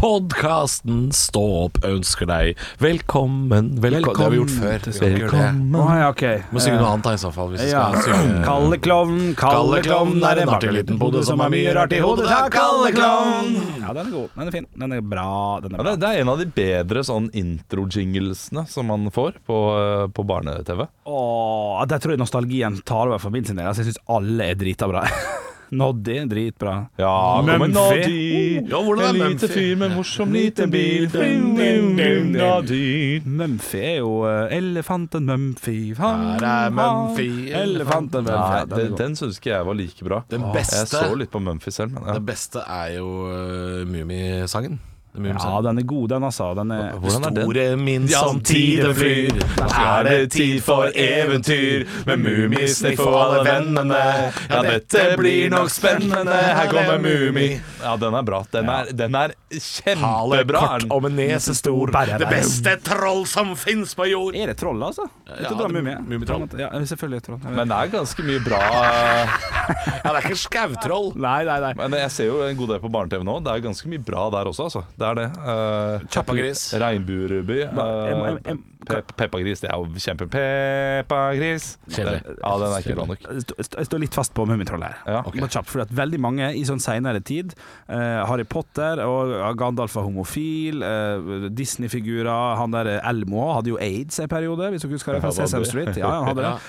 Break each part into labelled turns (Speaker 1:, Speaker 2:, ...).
Speaker 1: Podkasten Stå opp ønsker deg velkommen, velkommen.
Speaker 2: Det har vi gjort før. Vi skal ikke gjøre det.
Speaker 1: Velkommen.
Speaker 3: Å, ja, ok.
Speaker 1: Må synge noe annet da, i så fall. Hvis vi
Speaker 3: Ja.
Speaker 1: skal synge
Speaker 3: Kalle klovn, eh, kalle klovn er en artig liten pode som har mye rart i hodet. Ta kalle klovn! Ja, den er god. Den er fin. Den er bra. Den
Speaker 2: Ja,
Speaker 3: er
Speaker 2: det,
Speaker 3: bra.
Speaker 2: det er en av de bedre sånn intro-jinglesene som man får på, eh, på barne-TV.
Speaker 3: Åh, der tror jeg nostalgien tar over for min sin del. Altså, jeg syns alle er drita bra. Noddy er dritbra.
Speaker 2: Ja,
Speaker 1: Mm.
Speaker 3: Mumphy. Oh,
Speaker 2: men Nadi,
Speaker 1: Ja, hvordan er
Speaker 2: en
Speaker 1: Mumphy?
Speaker 2: lite fyr med morsom liten bil.
Speaker 3: Dum, dum, dum, dum.
Speaker 2: Nadi.
Speaker 3: Mumphy er jo eh, elefanten Mumphy. Han
Speaker 1: Her er Mumphy,
Speaker 3: har Elefanten Mumphy.
Speaker 2: Nei,
Speaker 3: Ja, den er
Speaker 2: den,
Speaker 3: god.
Speaker 2: den syns ikke jeg var like bra.
Speaker 1: Den
Speaker 2: Jeg
Speaker 1: beste,
Speaker 2: så litt på Mumphy selv, men ja.
Speaker 1: det beste er jo uh, Mummisangen. Det er
Speaker 3: ja,
Speaker 1: Mummisangen.
Speaker 3: den er god, den, altså. Den er
Speaker 2: Hvordan er den?
Speaker 1: Store min som tiden flyr, nå er det tid for eventyr. Med mummisniff og alle vennene, ja dette blir nok spennende. Her kommer Mummi.
Speaker 2: Ja, den er bra. Den er, den er
Speaker 1: Hale
Speaker 2: kjempebra. er
Speaker 1: kort
Speaker 2: den.
Speaker 1: om en nese stor, det beste troll som fins på jord.
Speaker 3: Er det troll, altså? Ja,
Speaker 1: det- Mummitroll.
Speaker 3: Ja, selvfølgelig er det troll.
Speaker 2: Men det er ganske mye bra
Speaker 1: Ja, det er ikke skautroll.
Speaker 3: Nei, nei, nei.
Speaker 2: Men jeg ser jo en god del på barne-TV nå. Det er ganske mye bra der også, altså. Det er det. Uh,
Speaker 1: Kjappagris.
Speaker 2: Regnbueruby.
Speaker 3: jeg må- jeg-
Speaker 2: eh,
Speaker 3: jeg-
Speaker 2: pe Peppagris. Det er jo kjempe Peppagris.
Speaker 1: Kjedelig.
Speaker 2: Det- Ja, den er ikke bra nok.
Speaker 3: Jeg st- st- jeg står litt fast på Mummitroll her.
Speaker 2: Ja, ok.
Speaker 3: Bare kjapt, fordi at veldig mange i sånn senere tid eh, Harry Potter og Gandalf var homofil, eh, Disney-figurer Han der eh, Elmo hadde jo aids en periode, hvis dere husker det, fra
Speaker 2: Han hadde
Speaker 3: Sesame
Speaker 2: det.
Speaker 3: Street. Ja, han hadde det.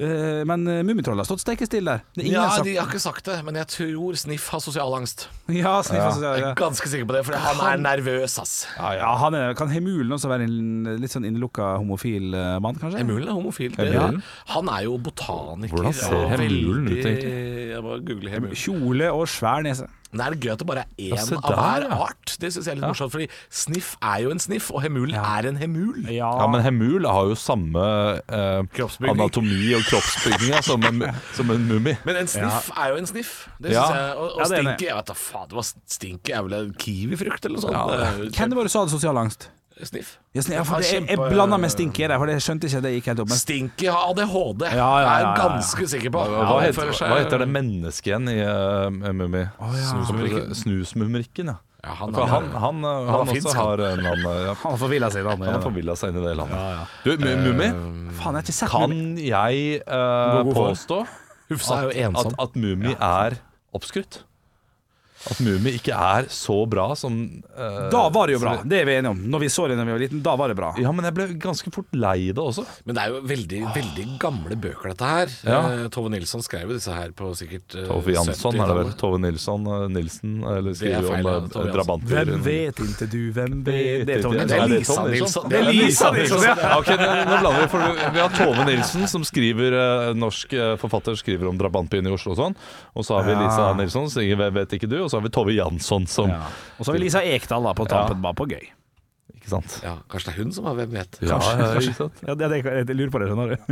Speaker 3: Eh, men uh, Mummitroll har stått steikestille der. Det er ingen
Speaker 1: Ja,
Speaker 3: som-
Speaker 1: de har ikke sagt det, men jeg tror Sniff har sosial angst.
Speaker 3: ja, sniff, altså,
Speaker 1: Jeg
Speaker 3: ja.
Speaker 1: er ganske sikker på det, for han er nervøs, ass.
Speaker 3: Ja, ja, han er, kan Hemulen også være en litt sånn innelukka homofil eh, mann, kanskje?
Speaker 1: Emulen er homofil. Det,
Speaker 2: Emulen?
Speaker 1: Han er jo botaniker.
Speaker 2: Hvordan ser
Speaker 1: og
Speaker 2: Emulen ut,
Speaker 1: veldig-
Speaker 2: egentlig?
Speaker 1: Jeg bare googler Emulen.
Speaker 3: Kjole og svær nese.
Speaker 1: Men er det gøy at det bare er én
Speaker 2: se
Speaker 1: av
Speaker 2: der,
Speaker 1: hver
Speaker 2: ja.
Speaker 1: art? Det syns jeg er litt morsomt, fordi Sniff er jo en Sniff, og Hemulen er en Hemul.
Speaker 2: Ja, men Hemul har jo samme eh,
Speaker 1: Kroppsbygning.
Speaker 2: anatomi og kroppsbygning ja, som en, som en mummi.
Speaker 1: Men en Sniff er jo en Sniff. Det
Speaker 2: Ja.
Speaker 1: synes jeg, og og
Speaker 3: Ja, det er det.
Speaker 1: Stinky jeg vet da faen, det var Stinky er vel en kiwifrukt eller noe sånt? Det er
Speaker 3: Hvem var det som hadde sosial angst?
Speaker 1: jo Sniff.
Speaker 3: Ja, sniff, ja, for
Speaker 1: Han
Speaker 3: det, jeg jeg
Speaker 1: kjemper-
Speaker 3: blanda med stinky der, for det skjønte ikke at det gikk helt opp. Men
Speaker 1: Stinky har ADHD,
Speaker 3: ja, ja, ja,
Speaker 1: er
Speaker 3: ja.
Speaker 1: jeg ganske sikker på.
Speaker 2: Hva, heter, hva heter det mennesket igjen i uh, Mummi? Snusmumrikken. Snusmumrikken, ja.
Speaker 1: Ja, han
Speaker 2: For
Speaker 1: er-
Speaker 2: han, han, eh, han,
Speaker 1: er
Speaker 2: også
Speaker 1: finsk, han.
Speaker 2: har en annen eh, ja.
Speaker 3: Han forvilla seg, da.
Speaker 2: Han har forvilla seg inn i det landet. Du, Mu- Mummi?
Speaker 1: Eh,
Speaker 3: Faen, jeg har ikke sett
Speaker 2: Kan
Speaker 3: Mummi.
Speaker 2: jeg eh,
Speaker 3: god for.
Speaker 2: påstå
Speaker 1: Hufsa er jo
Speaker 2: at,
Speaker 1: ensom.
Speaker 2: at Mummi er oppskrytt? At Mummi ikke er så bra som eh,
Speaker 3: Da var det jo bra, det er vi enige om. Når vi så det da vi var liten, da var det bra.
Speaker 2: Ja, men jeg ble ganske fort lei det også.
Speaker 1: Men det er jo veldig, veldig gamle bøker, dette her.
Speaker 2: Ja.
Speaker 1: Eh, Tove Nilsson skrev jo disse her på sikkert eh,
Speaker 2: Tove Jansson er det vel.
Speaker 1: 70-tallet.
Speaker 2: Tove Nilsson, eh, Nilsen eller
Speaker 1: Det er
Speaker 2: skriver
Speaker 1: feil, ja,
Speaker 2: om
Speaker 1: Tove
Speaker 2: eh,
Speaker 1: Jansson.
Speaker 2: drabanter.
Speaker 3: vet ikke du, hvem vet Det er Tom
Speaker 2: Nei,
Speaker 1: Det er Lisa
Speaker 3: Nilsen.
Speaker 2: det Tom
Speaker 1: Nilsson.
Speaker 2: Nilsson?
Speaker 3: Det er Lisa Nilsson, ja!
Speaker 2: Ja, ok, nå, nå blander Vi for Vi har Tove Nilsen, som skriver eh, norsk eh, forfatter skriver om drabantbyen i Oslo. Og sånn Og så har vi Lisa Nilsson, som sier 'Hvem vet ikke du', og så har vi Tove Jansson, som
Speaker 3: Ja. Og så har vi Lisa Ekdal da, på tampen, bare på gøy.
Speaker 2: Ikke sant?
Speaker 1: Ja, kanskje det er hun som har Hvem vet?
Speaker 2: Ja, ja, ikke sant?
Speaker 3: Ja, det, det, jeg lurer på det, skjønner du.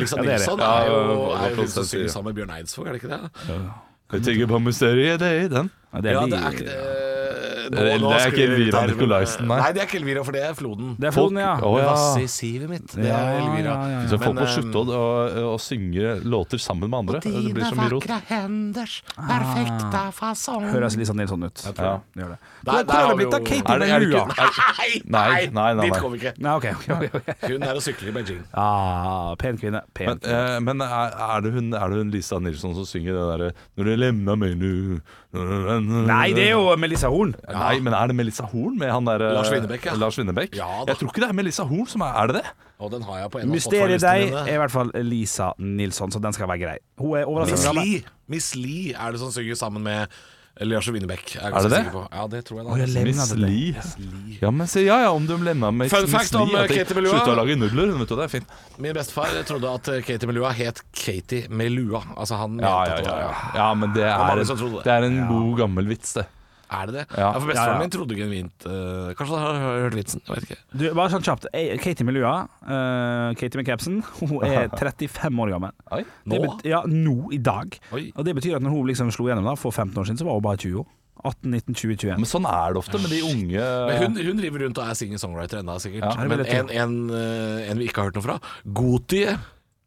Speaker 1: Lisa
Speaker 3: Ja, det er det.
Speaker 1: Nilsson
Speaker 2: Ja,
Speaker 1: er jo, er
Speaker 2: hva
Speaker 1: jo hun
Speaker 2: prosent
Speaker 1: som
Speaker 2: sier.
Speaker 1: synger sammen med Bjørn Eidsvåg, er det ikke det?
Speaker 2: Jeg tenker på mysteriet, det er i den.
Speaker 3: Ja, det, er
Speaker 1: ja,
Speaker 3: vi-
Speaker 1: det er ikke det Eh,
Speaker 2: Det er- det er ikke
Speaker 1: skriver jeg ut
Speaker 2: Elvira
Speaker 1: her, men-
Speaker 2: Nikolaisen, nei.
Speaker 1: nei. det er ikke Elvira, for det er Floden.
Speaker 3: Det er floden, ja.
Speaker 2: Folk- Å, ja.
Speaker 1: Vasse i sivet mitt, det
Speaker 3: Ja,
Speaker 1: er Elvira.
Speaker 3: ja, ja, ja.
Speaker 2: Så folk må
Speaker 1: eh,
Speaker 2: slutte å, å, å synge låter sammen med andre. Det blir så mye rot.
Speaker 1: henders perfekta fasong
Speaker 3: Høres Lisa Nilsson ut. Ja, det gjør det.
Speaker 1: Der-
Speaker 3: Hvor
Speaker 1: der har
Speaker 3: har det
Speaker 1: vi
Speaker 3: blitt av
Speaker 1: jo-
Speaker 3: Katie
Speaker 2: Er
Speaker 3: med
Speaker 2: det- er det
Speaker 3: lua?
Speaker 2: ikke-
Speaker 1: Nei,
Speaker 2: Nei, nei, nei,
Speaker 1: dit
Speaker 2: nei.
Speaker 1: kom vi ikke.
Speaker 3: Nei, ok, ok, ok, ok.
Speaker 1: Hun er og sykler i Beijing.
Speaker 3: Ah, pen kvinne. Pen
Speaker 2: Men,
Speaker 3: kvinne.
Speaker 2: eh, men er, er, det hun, er det hun Lisa Nilsson som synger det derre Når du lemner meg nu
Speaker 3: eh, Nei, det er jo Melissa Horn.
Speaker 2: Nei, men er det Melissa Horn med han der eh,
Speaker 1: Lars Winnerbäck, ja.
Speaker 2: Lars Winnerbäck?
Speaker 1: Ja da.
Speaker 2: jeg tror ikke det er Melissa Horn som er Er det det?
Speaker 1: Og den har jeg på en av
Speaker 3: Mysteriet
Speaker 1: hotfire-listene
Speaker 3: deg er i
Speaker 1: mine.
Speaker 3: hvert fall Lisa Nilsson, så den skal være grei. Hun er
Speaker 1: Miss
Speaker 3: overraskende gammel.
Speaker 1: Li. Miss Li er det som synger sammen med Lars Winnebekk.
Speaker 2: Er det det?
Speaker 1: Ja, det tror jeg.
Speaker 3: Å,
Speaker 1: da.
Speaker 3: jeg lemner
Speaker 2: Miss
Speaker 3: det.
Speaker 2: Lee. Ja, men se, ja ja, om de lemner meg
Speaker 1: Fun
Speaker 2: Miss
Speaker 1: fact
Speaker 2: Lee,
Speaker 1: om, eh,
Speaker 2: at de
Speaker 1: Katie Melua.
Speaker 2: Slutter å lage nudler, hun, vet du. Det er fint.
Speaker 1: Min bestefar trodde at eh, Katie Melua het Katie Melua. Altså han mente
Speaker 2: Ja, ja,
Speaker 1: at det
Speaker 2: ja,
Speaker 1: var
Speaker 2: ja. ja men det er,
Speaker 1: som trodde det.
Speaker 2: det er en god, gammel vits, det.
Speaker 1: Er det det?
Speaker 2: Ja.
Speaker 1: Ja, For bestefaren
Speaker 3: Ja, ja.
Speaker 1: min trodde genuint uh, Kanskje han har hørt vitsen? Jeg vet ikke.
Speaker 3: Du, bare sånn kjapt. Eh, Katie med lua, eh, Katie med capsen, hun er 35 år gammel.
Speaker 2: Oi.
Speaker 3: Det
Speaker 1: Nå?
Speaker 3: bet- ja, nå i dag.
Speaker 1: Oi.
Speaker 3: Og det betyr at når hun liksom slo gjennom da, for 15 år siden, så var hun bare 20 år. 18, 19, 20, 21.
Speaker 2: Men sånn er det ofte med de unge
Speaker 1: Men hun, hun driver rundt og er singer-songwriter ennå, sikkert.
Speaker 2: Ja, det
Speaker 3: vil
Speaker 1: Men
Speaker 3: jeg
Speaker 1: en, en, eh, en vi ikke har hørt noe fra, Gotie,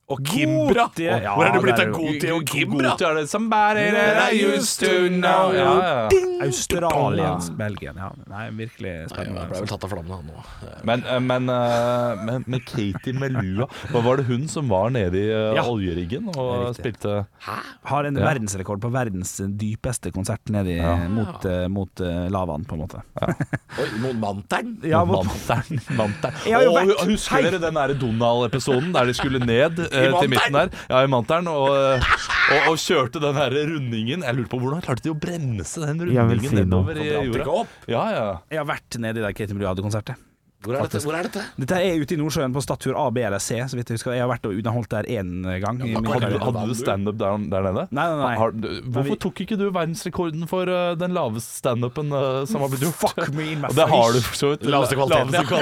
Speaker 1: Og Kimbra!
Speaker 3: Goti, ja,
Speaker 1: Hvor er det blitt
Speaker 3: der
Speaker 1: av
Speaker 3: er jo-
Speaker 1: Goti og Kimbra?
Speaker 2: Goti er det Somebody that I used to know ja, ja.
Speaker 3: Australiens Belgien, ja. Nei, virkelig spennende.
Speaker 1: Jeg ble vel tatt av flammene, han nå.
Speaker 2: Men, eh, men, eh, men, men Katie Melua hva Var det hun som var nede i eh,
Speaker 1: Ja.
Speaker 2: oljeriggen og spilte
Speaker 3: Har en verdensrekord på verdens dypeste konsert nedi mot, eh, mot eh, lavaen, på en måte.
Speaker 1: Oi, mot Manteren?
Speaker 3: Ja, mot-
Speaker 2: Manteren. Manteren.
Speaker 3: Jeg har jo
Speaker 2: Og
Speaker 3: vært-
Speaker 2: hu- husker dere den der Donald-episoden der de skulle ned eh, til
Speaker 1: Manteren?
Speaker 2: midten der? Ja, i Manteren. Og, eh, og, og kjørte den der rundingen. Jeg lurer på hvordan klarte de å bremse den
Speaker 4: Jeg vil
Speaker 2: rundingen
Speaker 4: si noe.
Speaker 2: nedover i
Speaker 1: Den brant ikke
Speaker 2: jorda?
Speaker 1: opp.
Speaker 2: Ja, ja.
Speaker 3: Jeg har vært nedi der Katie Melua hadde konsert, jeg.
Speaker 1: Hvor er dette? Hvor er dette?
Speaker 3: Dette er ute i Nordsjøen på Statur A, B eller C, så vidt jeg husker. Jeg har vært og underholdt der én gang. i min
Speaker 2: Hadde,
Speaker 3: karriere.
Speaker 2: du- hadde du standup der, der nede?
Speaker 3: Nei, nei, nei.
Speaker 2: Har, du-
Speaker 3: vi-
Speaker 2: hvorfor tok ikke du verdensrekorden for eh, den laveste standupen uh, som har blitt gjort?
Speaker 3: Fuck me in my
Speaker 2: Og det har du
Speaker 3: face.
Speaker 2: for så vidt.
Speaker 1: Laveste kvaliteten,
Speaker 2: Laveste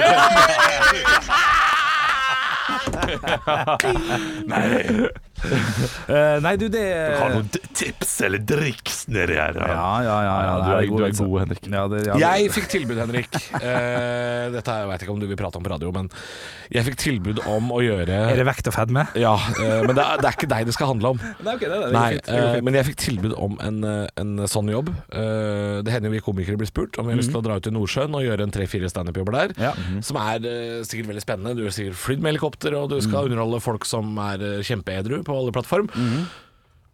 Speaker 1: ja.
Speaker 2: kvaliteten.
Speaker 3: Eh, nei, du, det
Speaker 2: Har du noen d- tips eller driks nedi her?
Speaker 3: Ja, ja, ja. ja,
Speaker 2: Ja,
Speaker 3: det
Speaker 2: du er,
Speaker 3: god,
Speaker 2: du er
Speaker 3: altså.
Speaker 2: god, Henrik.
Speaker 3: Ja, det, ja, det-
Speaker 1: Jeg fikk tilbud, Henrik. Eh, dette her veit jeg ikke om du vil prate om på radio, men jeg fikk tilbud om å
Speaker 3: Er
Speaker 1: gjøre
Speaker 3: det vekt og fedme?
Speaker 1: ja, eh, men det er, det er ikke deg det skal handle om.
Speaker 3: Nei, okay, det, det,
Speaker 1: Nei, eh, men jeg fikk tilbud om en, eh, en sånn jobb. Eh, det hender jo vi komikere blir spurt om vi har lyst til å dra ut i Nordsjøen og gjøre en tre-fire standup-jobber der.
Speaker 3: Mhm. Ja.
Speaker 2: Mhm.
Speaker 1: Som er eh, sikkert veldig spennende. Du har sikkert flydd med helikopter, og du
Speaker 3: Mhm.
Speaker 1: skal underholde folk som er eh, kjempeedru på alle plattform.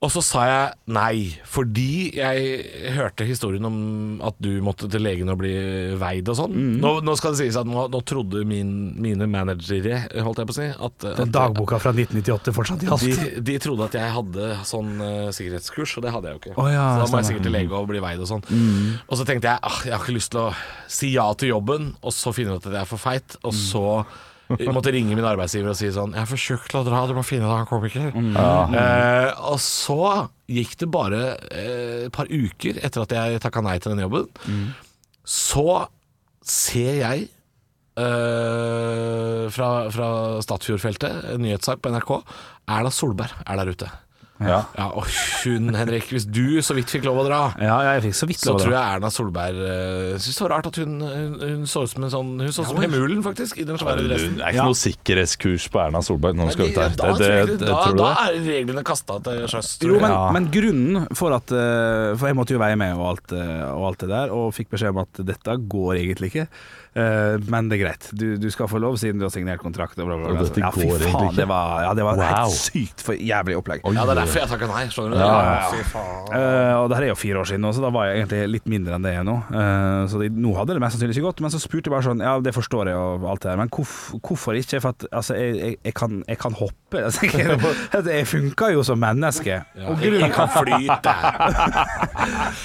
Speaker 1: Og så sa jeg nei, fordi jeg hørte historien om at du måtte til legen og bli veid og sånn.
Speaker 3: Mhm.
Speaker 1: Nå, nå skal det sies at nå, nå trodde min, mine managere, holdt jeg på å si, at, at
Speaker 3: Dagboka fra 1998 fortsatt
Speaker 1: de, de trodde at jeg hadde sånn eh, sikkerhetskurs, og det hadde jeg jo ikke.
Speaker 3: Å ja,
Speaker 1: så da må jeg
Speaker 3: stemmer. Mm.
Speaker 1: sikkert til lege og bli veid og sånn. Og så tenkte jeg ah, jeg har ikke lyst til å si ja til jobben, og så finne ut at jeg er for feit,
Speaker 3: Mm.
Speaker 1: og så jeg måtte ringe min arbeidsgiver og si sånn Jeg er for tjukk til å dra, du må finne deg en komiker.
Speaker 3: Mm.
Speaker 1: Eh, og så gikk det bare eh, et par uker etter at jeg takka nei til den jobben,
Speaker 3: Mm.
Speaker 1: så ser jeg eh, fra, fra Statfjordfeltet, en nyhetssak på NRK, Erla Solberg er der ute.
Speaker 2: Ja.
Speaker 1: Ja, og hun, Henrik, hvis du så vidt fikk lov å dra
Speaker 3: Ja, ja, jeg fikk så vidt
Speaker 1: så
Speaker 3: lov
Speaker 1: tror
Speaker 3: til det.
Speaker 1: jeg Erna Solberg eh, synes det var rart at hun, hun, hun så ut som en sånn Hun så ut som Hemulen, faktisk, i den
Speaker 2: Det
Speaker 1: svære
Speaker 2: er
Speaker 1: dressen.
Speaker 2: ikke noe sikkerhetskurs på Erna Solberg når hun skal ut
Speaker 1: Ja,
Speaker 2: der.
Speaker 1: da, tror jeg,
Speaker 2: Det- det-
Speaker 1: da,
Speaker 2: tror du
Speaker 1: da
Speaker 2: det?
Speaker 1: er reglene kasta til sjøs. tror
Speaker 3: Jo, men,
Speaker 1: jeg.
Speaker 3: men grunnen for at eh, For jeg måtte jo veie med og alt, eh, og alt det der, og fikk beskjed om at dette går egentlig ikke. Eh, men det er greit, du, du skal få lov siden du har signert kontrakt. Og bla, bla, bla.
Speaker 2: Og dette
Speaker 3: ja, fy
Speaker 2: går egentlig
Speaker 3: faen,
Speaker 2: ikke.
Speaker 3: det var, ja, det var
Speaker 2: Wow.
Speaker 3: helt sykt for jævlig opplegg.
Speaker 1: ja, det er derfor jeg takka nei, skjønner du.
Speaker 3: Ja, ja,
Speaker 1: Fy faen.
Speaker 3: Eh, og det her er jo fire år siden, nå, så da var jeg egentlig litt mindre enn det jeg er nå. Eh, så det, nå hadde det mest sannsynlig ikke gått, men så spurte jeg bare sånn Ja, det forstår jeg og alt det her, men hvorf, hvorfor ikke? For at altså, jeg, jeg, jeg, kan, jeg kan hoppe. Altså, jeg, jeg funker jo som menneske.
Speaker 1: Ja, jeg, jeg kan flyte.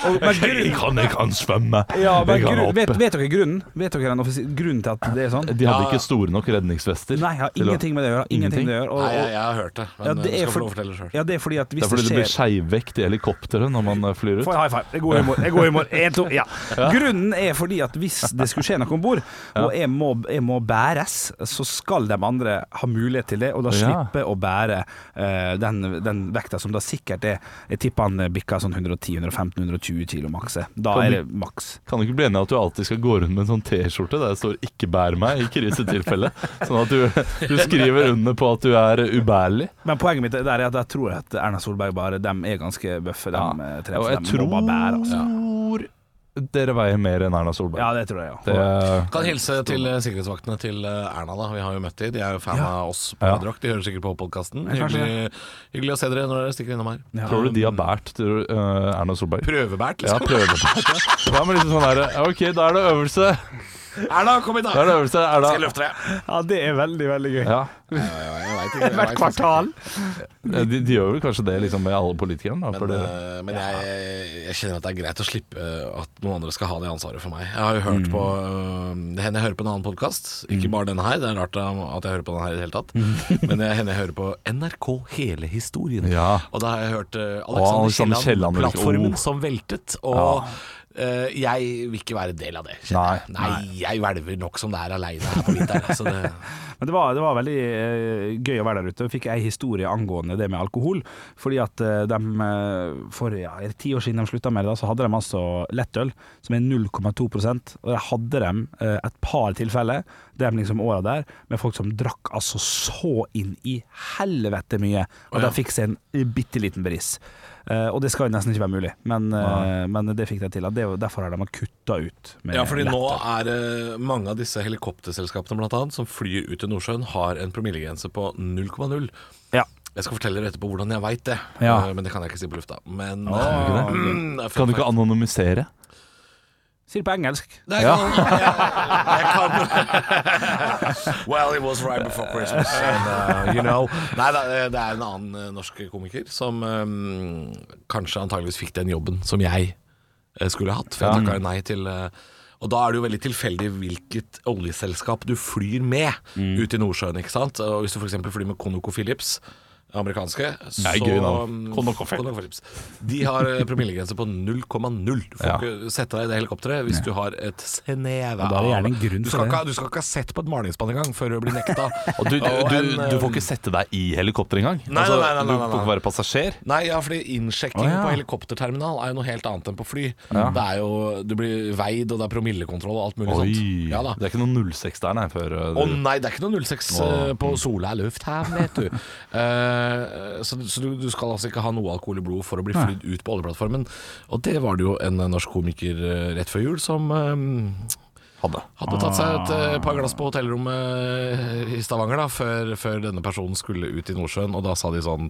Speaker 3: Og, men
Speaker 2: Jeg
Speaker 3: grunnen,
Speaker 2: kan, jeg kan svømme.
Speaker 3: ja, men
Speaker 2: Jeg kan
Speaker 3: grunn,
Speaker 2: hoppe.
Speaker 3: vet, vet dere grunnen? Vet dere den offisi- grunnen til at det er sånn?
Speaker 2: De
Speaker 1: Ja.
Speaker 2: hadde ikke store nok redningsvester.
Speaker 3: Nei, jeg har
Speaker 2: til å-
Speaker 3: ingenting med det å gjøre. Ingenting med det å gjøre.
Speaker 1: Nei,
Speaker 3: Og,
Speaker 1: jeg,
Speaker 3: og,
Speaker 1: jeg har hørt det, men
Speaker 3: ja,
Speaker 1: du
Speaker 3: det er
Speaker 1: skal få lov å
Speaker 3: fordi,
Speaker 1: fortelle sjøl.
Speaker 3: ja, det er fordi at
Speaker 2: Det
Speaker 3: hvis
Speaker 2: er
Speaker 3: det,
Speaker 2: fordi du blir
Speaker 3: skjer
Speaker 2: skeivvekt i helikopteret når man eh, flyr ut.
Speaker 3: Få en high five. Det er god humor. Det er god humor. En, to, ja. Grunnen er fordi at hvis det skulle skje noe om bord, og jeg må, jeg må bæres, så skal de andre ha mulighet til det, og da
Speaker 2: Ja.
Speaker 3: slippe å bære eh, den, den vekta som da sikkert er Jeg tipper han bikker sånn 110-115-120 kilo maks. eh. Da
Speaker 2: Kan
Speaker 3: er
Speaker 2: du-
Speaker 3: det maks.
Speaker 2: Kan du ikke bli enig i at du alltid skal gå rundt med en sånn T-skjorte der det står 'ikke bær meg' i krisetilfelle? Sånn at du, du skriver under på at du er ubærlig.
Speaker 3: Men poenget mitt er- der er at jeg tror at Erna Solberg bare De er ganske bøffe, de
Speaker 2: Ja.
Speaker 3: eh, tre.
Speaker 2: Og
Speaker 3: så
Speaker 2: jeg
Speaker 3: de må
Speaker 2: tror
Speaker 3: bare bære, altså.
Speaker 2: dere veier mer enn Erna Solberg.
Speaker 3: Ja, det tror jeg, ja.
Speaker 2: Det,
Speaker 1: Kan hilse til eh, sikkerhetsvaktene til eh, Erna, da. Vi har jo møtt de. De er jo fan av oss på
Speaker 2: Ja.
Speaker 1: Radiorock. De hører sikkert på podkasten.
Speaker 3: Ja, kanskje
Speaker 1: Hyggelig, hyggelig å se dere når dere stikker innom her.
Speaker 2: tror du de har bært tror du, eh, Erna Solberg?
Speaker 1: Prøvebært,
Speaker 2: Ja,
Speaker 1: liksom.
Speaker 2: prøvebært. Ja. Da er man liksom sånn der, OK, da er det øvelse.
Speaker 1: Erna, kom hit,
Speaker 2: Da er
Speaker 1: da!
Speaker 2: det øvelse. Erna.
Speaker 1: Skal jeg løfte deg?
Speaker 3: Ja, det er veldig, veldig gøy.
Speaker 2: Ja, Eh,
Speaker 1: Jeg vet ikke, jeg vet faktisk
Speaker 3: kvartal.
Speaker 2: de, de gjør vel kanskje det liksom med alle politikerne. Da, for
Speaker 1: Men,
Speaker 2: det.
Speaker 1: eh, men jeg, jeg kjenner at det er greit å slippe eh, at noen andre skal ha det ansvaret for meg. Jeg har jo hørt på eh, Det hender jeg hører på en annen podkast, ikke bare denne her. Det er rart eh, at jeg hører på den her i det hele tatt. Men det hender jeg hører på NRK Hele historien.
Speaker 2: Ja.
Speaker 1: Og da har jeg hørt eh,
Speaker 2: Alexander
Speaker 1: Alexander
Speaker 2: Kielland,
Speaker 1: Kielland, plattformen
Speaker 2: oh.
Speaker 1: som veltet, og Eh, jeg vil ikke være del av det.
Speaker 3: Nei,
Speaker 1: kjenner jeg. nei, jeg hvelver nok som det er aleine her på vinteren. altså, det-
Speaker 3: Men det var, det var veldig eh, gøy å være der ute. Jeg fikk ei historie angående det med alkohol. Fordi at eh, de eh, for ja, er det ti år siden de slutta med det, da, så hadde de altså lettøl, som er 0,2 Og der hadde de eh, et par tilfeller de liksom åra der med folk som drakk altså så inn i helvete mye. Og
Speaker 1: Å, ja.
Speaker 3: de fikk seg en bitte liten bris. Eh, og det skal jo nesten ikke være mulig, men, eh, men det fikk de til. og Det er jo derfor har de kutta ut. Med
Speaker 1: Ja, fordi
Speaker 3: lettøl.
Speaker 1: nå er eh, mange av disse helikopterselskapene blant annet, som flyr ut til Nordsjøen, har en promillegrense på 0,0.
Speaker 3: Ja.
Speaker 1: Jeg skal fortelle dere etterpå hvordan jeg veit det,
Speaker 3: Ja.
Speaker 1: Eh, men det kan jeg ikke si på lufta. Men
Speaker 3: Kan du ikke det?
Speaker 1: Mm, det er
Speaker 2: Kan du ikke anonymisere?
Speaker 3: Sier det på engelsk.
Speaker 1: Nei, jeg kan- jeg- jeg kan- Well, it was right before Christmas and, uh, You know Nei, da, eh, det er en annen eh, norsk komiker Som eh, kanskje antageligvis fikk den jobben Som jeg eh, skulle hatt For jeg takket nei til eh, Og da er det jo veldig tilfeldig hvilket oljeselskap Du flyr med ut i Nordsjøen Ikke sant? Og hvis du for eksempel flyr med ConocoPhillips Amerikanske så,
Speaker 2: er gøy navn.
Speaker 1: mm,
Speaker 2: ConocoPhillips.
Speaker 1: ConocoPhillips. De har eh, promillegrense på 0,0 Du får
Speaker 2: Ja.
Speaker 1: ikke sette deg i det helikopteret hvis du har et snev
Speaker 3: Og da er det gjerne en grunn
Speaker 1: du
Speaker 3: for
Speaker 1: skal
Speaker 3: det.
Speaker 1: ikke, ha- Du skal ikke ha sett på et malingspann engang før du blir nekta.
Speaker 2: Og du, du,
Speaker 1: Og
Speaker 2: du,
Speaker 1: en, eh, um,
Speaker 2: du får ikke sette deg i helikopter engang? Altså,
Speaker 1: Nei, nei, nei, nei,
Speaker 2: du
Speaker 1: nei, nei.
Speaker 2: får ikke være passasjer?
Speaker 1: Nei, ja, fordi innsjekking
Speaker 3: Å, ja.
Speaker 1: på helikopterterminal er jo noe helt annet enn på fly. Det er jo, Du blir veid, og det er promillekontroll og alt mulig
Speaker 2: Oi,
Speaker 1: sånt. Ja da.
Speaker 2: Det er ikke noe 06 der, nei. Før, eh,
Speaker 1: Å
Speaker 2: du,
Speaker 1: nei, det er ikke noe 06 eh, på Sola lufthavn, vet du. Eh, så så du, du skal altså ikke ha noe alkohol i blodet for å bli flydd ut på oljeplattformen. Og det var det jo en eh, norsk komiker eh, rett før jul som eh,
Speaker 2: hadde.
Speaker 1: Hadde tatt seg et eh, par glass på hotellrommet eh, i Stavanger da, før, før denne personen skulle ut i Nordsjøen, og da sa de sånn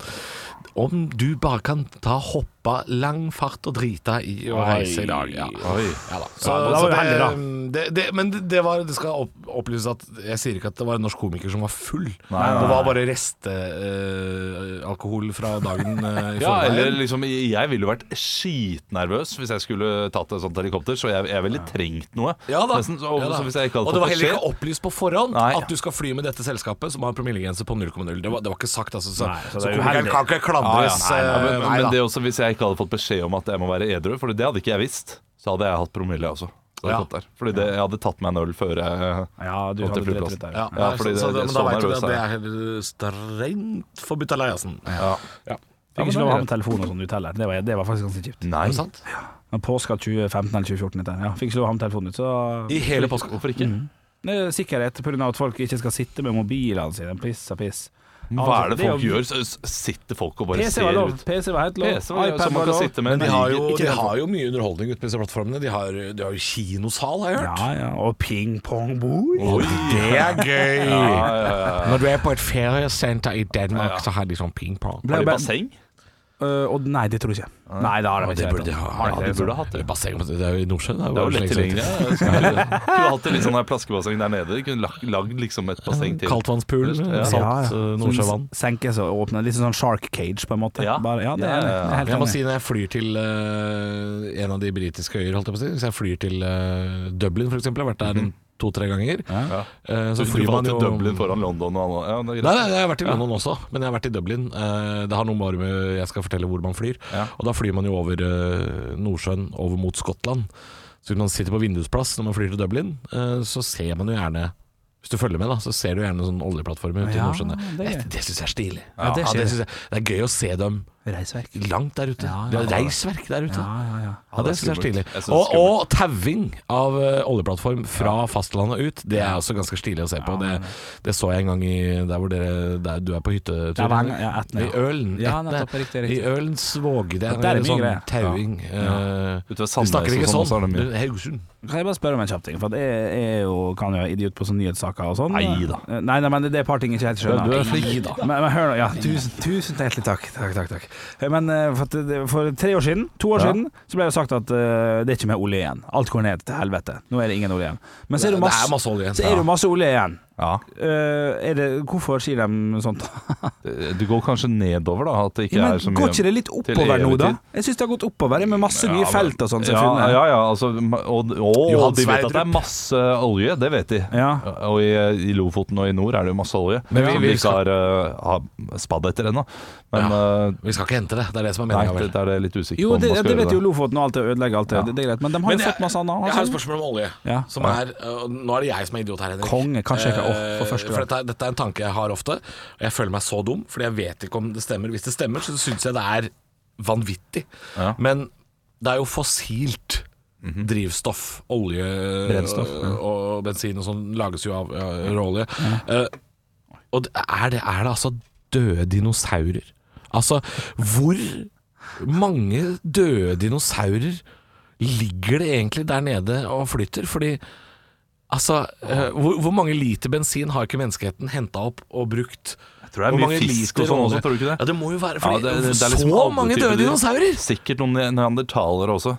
Speaker 1: Om du bare kan ta hoppa lang fart og drita i å reise i dag. Ja.
Speaker 2: Oi.
Speaker 1: Ja da. Så,
Speaker 3: da var
Speaker 1: så
Speaker 3: vi heldige, da.
Speaker 1: det, det, men det, var, det skal opp, opplyses at jeg sier ikke at det var en norsk komiker som var full. Det var bare restealkohol alkohol fra dagen eh, i
Speaker 2: Ja, eller
Speaker 1: forveien.
Speaker 2: liksom, jeg ville jo vært skitnervøs hvis jeg skulle tatt et sånt helikopter, så jeg, jeg ville trengt noe.
Speaker 1: Ja da.
Speaker 2: Nesten, så,
Speaker 1: Ja da.
Speaker 2: så hvis jeg ikke hadde
Speaker 1: og det var heller
Speaker 2: passasjer-
Speaker 1: ikke opplyst på forhånd
Speaker 2: Nei.
Speaker 1: at du skal fly med dette selskapet som har promillegrense på 0,0. Det, var- det var ikke sagt, altså. Så,
Speaker 3: Nei, så
Speaker 1: så,
Speaker 3: det er jo
Speaker 1: komikeren
Speaker 3: heldig.
Speaker 1: kan ikke klandres.
Speaker 2: Ja, ja.
Speaker 1: eh,
Speaker 2: men,
Speaker 1: nei da.
Speaker 2: men det er også hvis jeg ikke hadde fått beskjed om at jeg må være edru, for det hadde ikke jeg visst, så hadde jeg hatt promille også. Så hadde jeg
Speaker 1: Ja.
Speaker 2: gått der. Fordi det, jeg hadde tatt meg en øl før jeg
Speaker 3: Ja, du
Speaker 2: Opp til
Speaker 3: hadde rett
Speaker 2: flyplassen.
Speaker 3: ut der.
Speaker 1: ja,
Speaker 2: ja,
Speaker 1: nei,
Speaker 2: fordi
Speaker 1: så, så,
Speaker 2: det- det-
Speaker 1: men
Speaker 2: sånn
Speaker 1: da veit du
Speaker 2: nervøs
Speaker 1: at det er helt strengt forbudt av leiesen.
Speaker 2: ja.
Speaker 3: Fikk ikke lov å ha med telefon og sånn ut heller. Det var, det var faktisk ganske kjipt.
Speaker 2: Nei.
Speaker 1: Er det sant?
Speaker 3: Men Påska 2015 eller 2014, dette her. ja, fikk ikke lov å ha med telefonen ut. Så
Speaker 1: I hele påska. Hvorfor ikke?
Speaker 3: Det er sikkerhet pga. at folk ikke skal sitte med altså. mobilene sine. Piss og piss.
Speaker 2: Hva er
Speaker 3: Altså,
Speaker 2: det folk
Speaker 3: jo-
Speaker 2: gjør? Så- så Sitter folk og bare
Speaker 3: PC var
Speaker 2: ser
Speaker 3: lov.
Speaker 2: ut?
Speaker 3: PC var helt lov.
Speaker 2: PC var lov,
Speaker 3: iPad
Speaker 2: som man
Speaker 3: var
Speaker 2: kan
Speaker 3: lov.
Speaker 2: sitte med.
Speaker 3: Men
Speaker 1: De har jo,
Speaker 3: ikke
Speaker 1: de
Speaker 3: telefon.
Speaker 1: har jo mye underholdning ute på disse plattformene. De har, de har jo kinosal, har jeg hørt.
Speaker 3: Ja, ja. Og ping-pong-bord.
Speaker 2: Oi.
Speaker 1: Det er gøy!
Speaker 2: Ja, ja, ja.
Speaker 1: Når du er på et feriesenter i Danmark, så har de sånn ping-pong.
Speaker 3: Ble-
Speaker 2: Har de basseng?
Speaker 3: Øh, og nei, det tror jeg ikke. Nei, det har de
Speaker 1: Ja,
Speaker 3: ikke. altså.
Speaker 1: det burde de ha.
Speaker 3: Har de
Speaker 2: Ja,
Speaker 3: ikke
Speaker 2: de
Speaker 3: det?
Speaker 2: burde hatt det.
Speaker 1: Basseng det er jo i Nordsjøen.
Speaker 2: Det er jo lett tilgjengelig. ja. Skulle skulle hatt et litt sånn her plaskebasseng der nede. Kunne lag- lagd liksom et basseng til.
Speaker 1: Kaldtvannspoolen,
Speaker 2: Ja.
Speaker 1: salt
Speaker 3: Ja, ja.
Speaker 1: eh, Nordsjøvann.
Speaker 3: Som Senkes og åpner. Litt sånn shark cage, på en måte.
Speaker 2: Ja.
Speaker 3: Bare, ja, det er
Speaker 2: Ja, ja,
Speaker 3: jeg enig
Speaker 2: ja.
Speaker 3: i. Jeg er helt
Speaker 1: Jeg må
Speaker 3: enig.
Speaker 1: si når jeg flyr til eh, en av de britiske øyer, holdt jeg på å si Hvis jeg flyr til eh, Dublin f.eks., har vært der en to-tre ganger,
Speaker 2: Ja.
Speaker 1: eh,
Speaker 2: Så
Speaker 1: så
Speaker 2: flyr
Speaker 1: flyr man jo
Speaker 2: Dublin foran London og annet. Ja, det er
Speaker 1: Nei,
Speaker 2: greit.
Speaker 1: nei, jeg har vært i London også, men jeg har vært i Dublin. Eh, Det har noe bare med Jeg skal fortelle hvor man flyr.
Speaker 2: Ja.
Speaker 1: Og da flyr man jo over eh, Nordsjøen, over mot Skottland. Så hvis man sitter på vindusplass når man flyr til Dublin, eh, så ser man jo gjerne hvis du følger med, da, så ser du gjerne sånne oljeplattformer ute i
Speaker 3: Ja,
Speaker 1: Nordsjøen.
Speaker 3: det er
Speaker 1: Det, det syns jeg er stilig.
Speaker 3: Ja, det skjer.
Speaker 1: synes jeg. det er gøy å se dem
Speaker 3: Reisverk.
Speaker 1: langt der ute.
Speaker 3: Ja, ja.
Speaker 1: Det er reisverk der ute.
Speaker 3: Ja, ja, ja.
Speaker 1: Ja, det
Speaker 2: det er
Speaker 1: synes jeg er stilig.
Speaker 2: skummelt. Jeg synes det er
Speaker 1: Og, og tauing av eh, oljeplattform fra fastlandet ut, det er også ganske stilig å se på. Det, det så jeg en gang i der hvor dere der du er på hyttetur.
Speaker 3: Ja, Vang- ja, Etne, ja.
Speaker 1: I Ølen.
Speaker 3: Ja,
Speaker 1: Etne.
Speaker 3: nettopp, riktig, riktig.
Speaker 1: I Ølens våg. Det
Speaker 3: Ja,
Speaker 1: er,
Speaker 3: der er mye
Speaker 1: sånn
Speaker 3: greier.
Speaker 1: tauing. eh,
Speaker 2: Ute ved
Speaker 1: du
Speaker 2: Sandnes
Speaker 1: snakker ikke
Speaker 2: og sånn, så er
Speaker 1: sånn.
Speaker 2: det mye.
Speaker 1: Du, Haugesund.
Speaker 3: Kan jeg bare spørre om en kjapp ting? For at jeg, jeg er jo, kan jo være idiot på sånne nyhetssaker og sånn.
Speaker 2: Neida.
Speaker 3: Eh, Nei, nei, men det det er et par ting jeg ikke helt skjønner.
Speaker 2: Ja, du er flink.
Speaker 3: Neida. Men, men hør nå, ja, tusen, tusen hjertelig takk. Takk, takk, takk. Eh, Men eh, for, at det- for tre år siden, to år
Speaker 2: Ja.
Speaker 3: siden, så ble det sagt at eh, det er ikke mer olje igjen. Alt går ned til helvete. Nå er det ingen olje igjen. Men så er det
Speaker 1: Det er
Speaker 3: masse,
Speaker 1: masse olje igjen.
Speaker 3: så er det jo masse olje igjen.
Speaker 2: Ja.
Speaker 3: Eh, er det, hvorfor sier de sånt?
Speaker 2: Det går kanskje nedover, da. At det ikke
Speaker 3: Ja, men
Speaker 2: er så mye
Speaker 3: går ikke det litt oppover nå, da? Jeg syns det har gått oppover jeg, med masse nye
Speaker 2: Ja,
Speaker 3: felt og sånn. som jeg
Speaker 2: ja,
Speaker 3: finner.
Speaker 2: ja, ja, altså Og, og,
Speaker 1: Johan
Speaker 2: de vet at det
Speaker 1: Sverdrup.
Speaker 2: er masse olje, det vet de.
Speaker 3: Ja.
Speaker 2: Og i, i Lofoten og i nord er det jo masse olje.
Speaker 1: Men vi-
Speaker 2: som
Speaker 1: vi
Speaker 2: de ikke
Speaker 1: skal-
Speaker 2: har, eh, har spadd etter ennå. Men eh,
Speaker 1: Vi skal ikke hente det. Det er det som er
Speaker 2: nei,
Speaker 1: meninga, vel.
Speaker 2: det, det er det litt usikkert
Speaker 3: Jo,
Speaker 2: på om
Speaker 3: det,
Speaker 2: man skal
Speaker 3: det
Speaker 2: gjøre
Speaker 3: vet jo Lofoten og alt det ødelegger alt det, det er greit, men de har
Speaker 1: Men
Speaker 3: jo
Speaker 1: jeg-
Speaker 3: fått masse annet.
Speaker 1: Jeg har et
Speaker 3: altså.
Speaker 1: spørsmål om olje.
Speaker 3: Ja.
Speaker 1: Som er, øh, nå er det jeg som er idiot her, Henrik.
Speaker 3: Konge, kanskje jeg ikke- åh,
Speaker 1: Eh,
Speaker 3: for første gang.
Speaker 1: dette, er- dette er en tanke jeg har ofte. Og jeg føler meg så dum, fordi jeg vet ikke om det stemmer. Hvis det stemmer, så syns jeg det er vanvittig.
Speaker 2: Ja.
Speaker 1: Men det er jo fossilt.
Speaker 3: Mhm.
Speaker 1: Drivstoff, olje
Speaker 2: Brennstoff, ja.
Speaker 1: og, og bensin og sånn lages jo av ja, råolje. Eh, og det er, det, er det altså døde dinosaurer? Altså, hvor mange døde dinosaurer ligger det egentlig der nede og flyter? Fordi Altså, eh, hvor, hvor mange liter bensin har ikke menneskeheten henta opp og brukt?
Speaker 2: Jeg tror det er
Speaker 1: Hvor
Speaker 2: mye
Speaker 1: mange
Speaker 2: fisk og
Speaker 1: liter
Speaker 2: sånn også,
Speaker 1: olje?
Speaker 2: tror du ikke det?
Speaker 1: Ja, det må jo være,
Speaker 2: Ja,
Speaker 1: fordi
Speaker 2: det- det- det er
Speaker 1: så
Speaker 2: liksom alle
Speaker 1: mange
Speaker 2: typer
Speaker 1: døde
Speaker 2: dyr.
Speaker 1: dinosaurer!
Speaker 2: Sikkert noen ne- neandertalere også.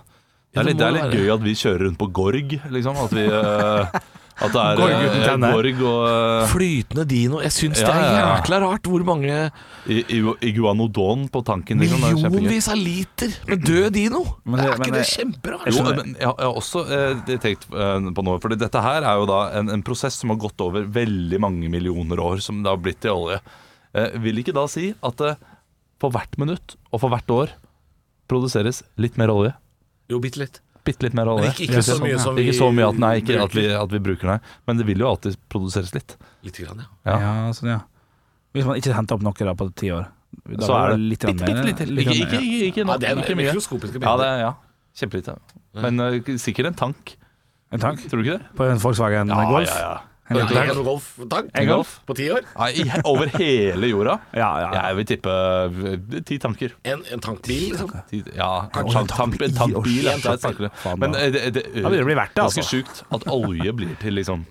Speaker 2: Det
Speaker 1: Ja,
Speaker 2: er
Speaker 1: det
Speaker 2: litt, det
Speaker 1: må
Speaker 2: er litt
Speaker 1: være.
Speaker 2: gøy at vi kjører rundt på Gorg, liksom. At, vi, eh, at det er
Speaker 3: Gorg
Speaker 2: eh,
Speaker 3: uten tenner.
Speaker 2: Gorg og eh,
Speaker 1: Flytende dino. Jeg syns det
Speaker 2: Ja,
Speaker 1: er
Speaker 2: ja, ja.
Speaker 1: jækla rart hvor mange
Speaker 2: i- i- iguanodon på tanken. Liksom. Det er kjempegøy.
Speaker 1: millionvis av liter med død dino!
Speaker 3: Men det-
Speaker 1: Er
Speaker 3: men
Speaker 1: ikke det
Speaker 3: det-
Speaker 1: kjemperart?
Speaker 2: Jo, men jeg jeg har også eh, det tenkt eh, på noe, for dette her er jo da en, en prosess som har gått over veldig mange millioner år, som det har blitt i olje. Eh, vil ikke da si at det for hvert minutt og for hvert år produseres litt mer olje?
Speaker 1: Jo, bitte litt.
Speaker 2: Bitte litt mer olje.
Speaker 1: Men ikke- ikke så mye som vi
Speaker 2: Ikke så mye at, nei, ikke,
Speaker 1: bruker.
Speaker 2: at, vi, at vi bruker, nei. Men det vil jo alltid produseres litt.
Speaker 1: Lite grann, ja.
Speaker 2: Ja.
Speaker 3: Ja, sånn, ja. Hvis man ikke henter opp noe da på ti år, da
Speaker 2: Så
Speaker 3: var
Speaker 2: er det
Speaker 3: litt grann
Speaker 2: bitte,
Speaker 3: mer,
Speaker 2: bitte lite.
Speaker 3: litt
Speaker 2: Ikke,
Speaker 3: grann
Speaker 2: ikke,
Speaker 3: mer.
Speaker 2: ikke, ikke,
Speaker 1: ja. Det er
Speaker 2: ikke mye.
Speaker 1: mikroskopiske bilder.
Speaker 2: Ja, det er, ja. Kjempelite. Men eh, sikkert en tank.
Speaker 3: En tank
Speaker 2: Tror du ikke det?
Speaker 3: på en Volkswagen Golf?
Speaker 2: ja, ja.
Speaker 1: Ja,
Speaker 3: En liten
Speaker 1: en golf, takk.
Speaker 3: En golf?
Speaker 1: På ti år?
Speaker 2: Nei, i- over hele jorda?
Speaker 3: Ja, ja.
Speaker 2: Jeg vil tippe eh, ti tanker.
Speaker 1: En, en tankbil, liksom?
Speaker 2: Ti, ja,
Speaker 3: Kanskje
Speaker 2: tank-
Speaker 3: en tankbil i
Speaker 2: tank-
Speaker 3: år.
Speaker 2: tankbil. ja, det er tankere.
Speaker 3: Faen, da.
Speaker 2: Men eh, det, det,
Speaker 3: Da blir det bli verdt det,
Speaker 2: ganske
Speaker 3: altså.
Speaker 2: sjukt at olje blir til liksom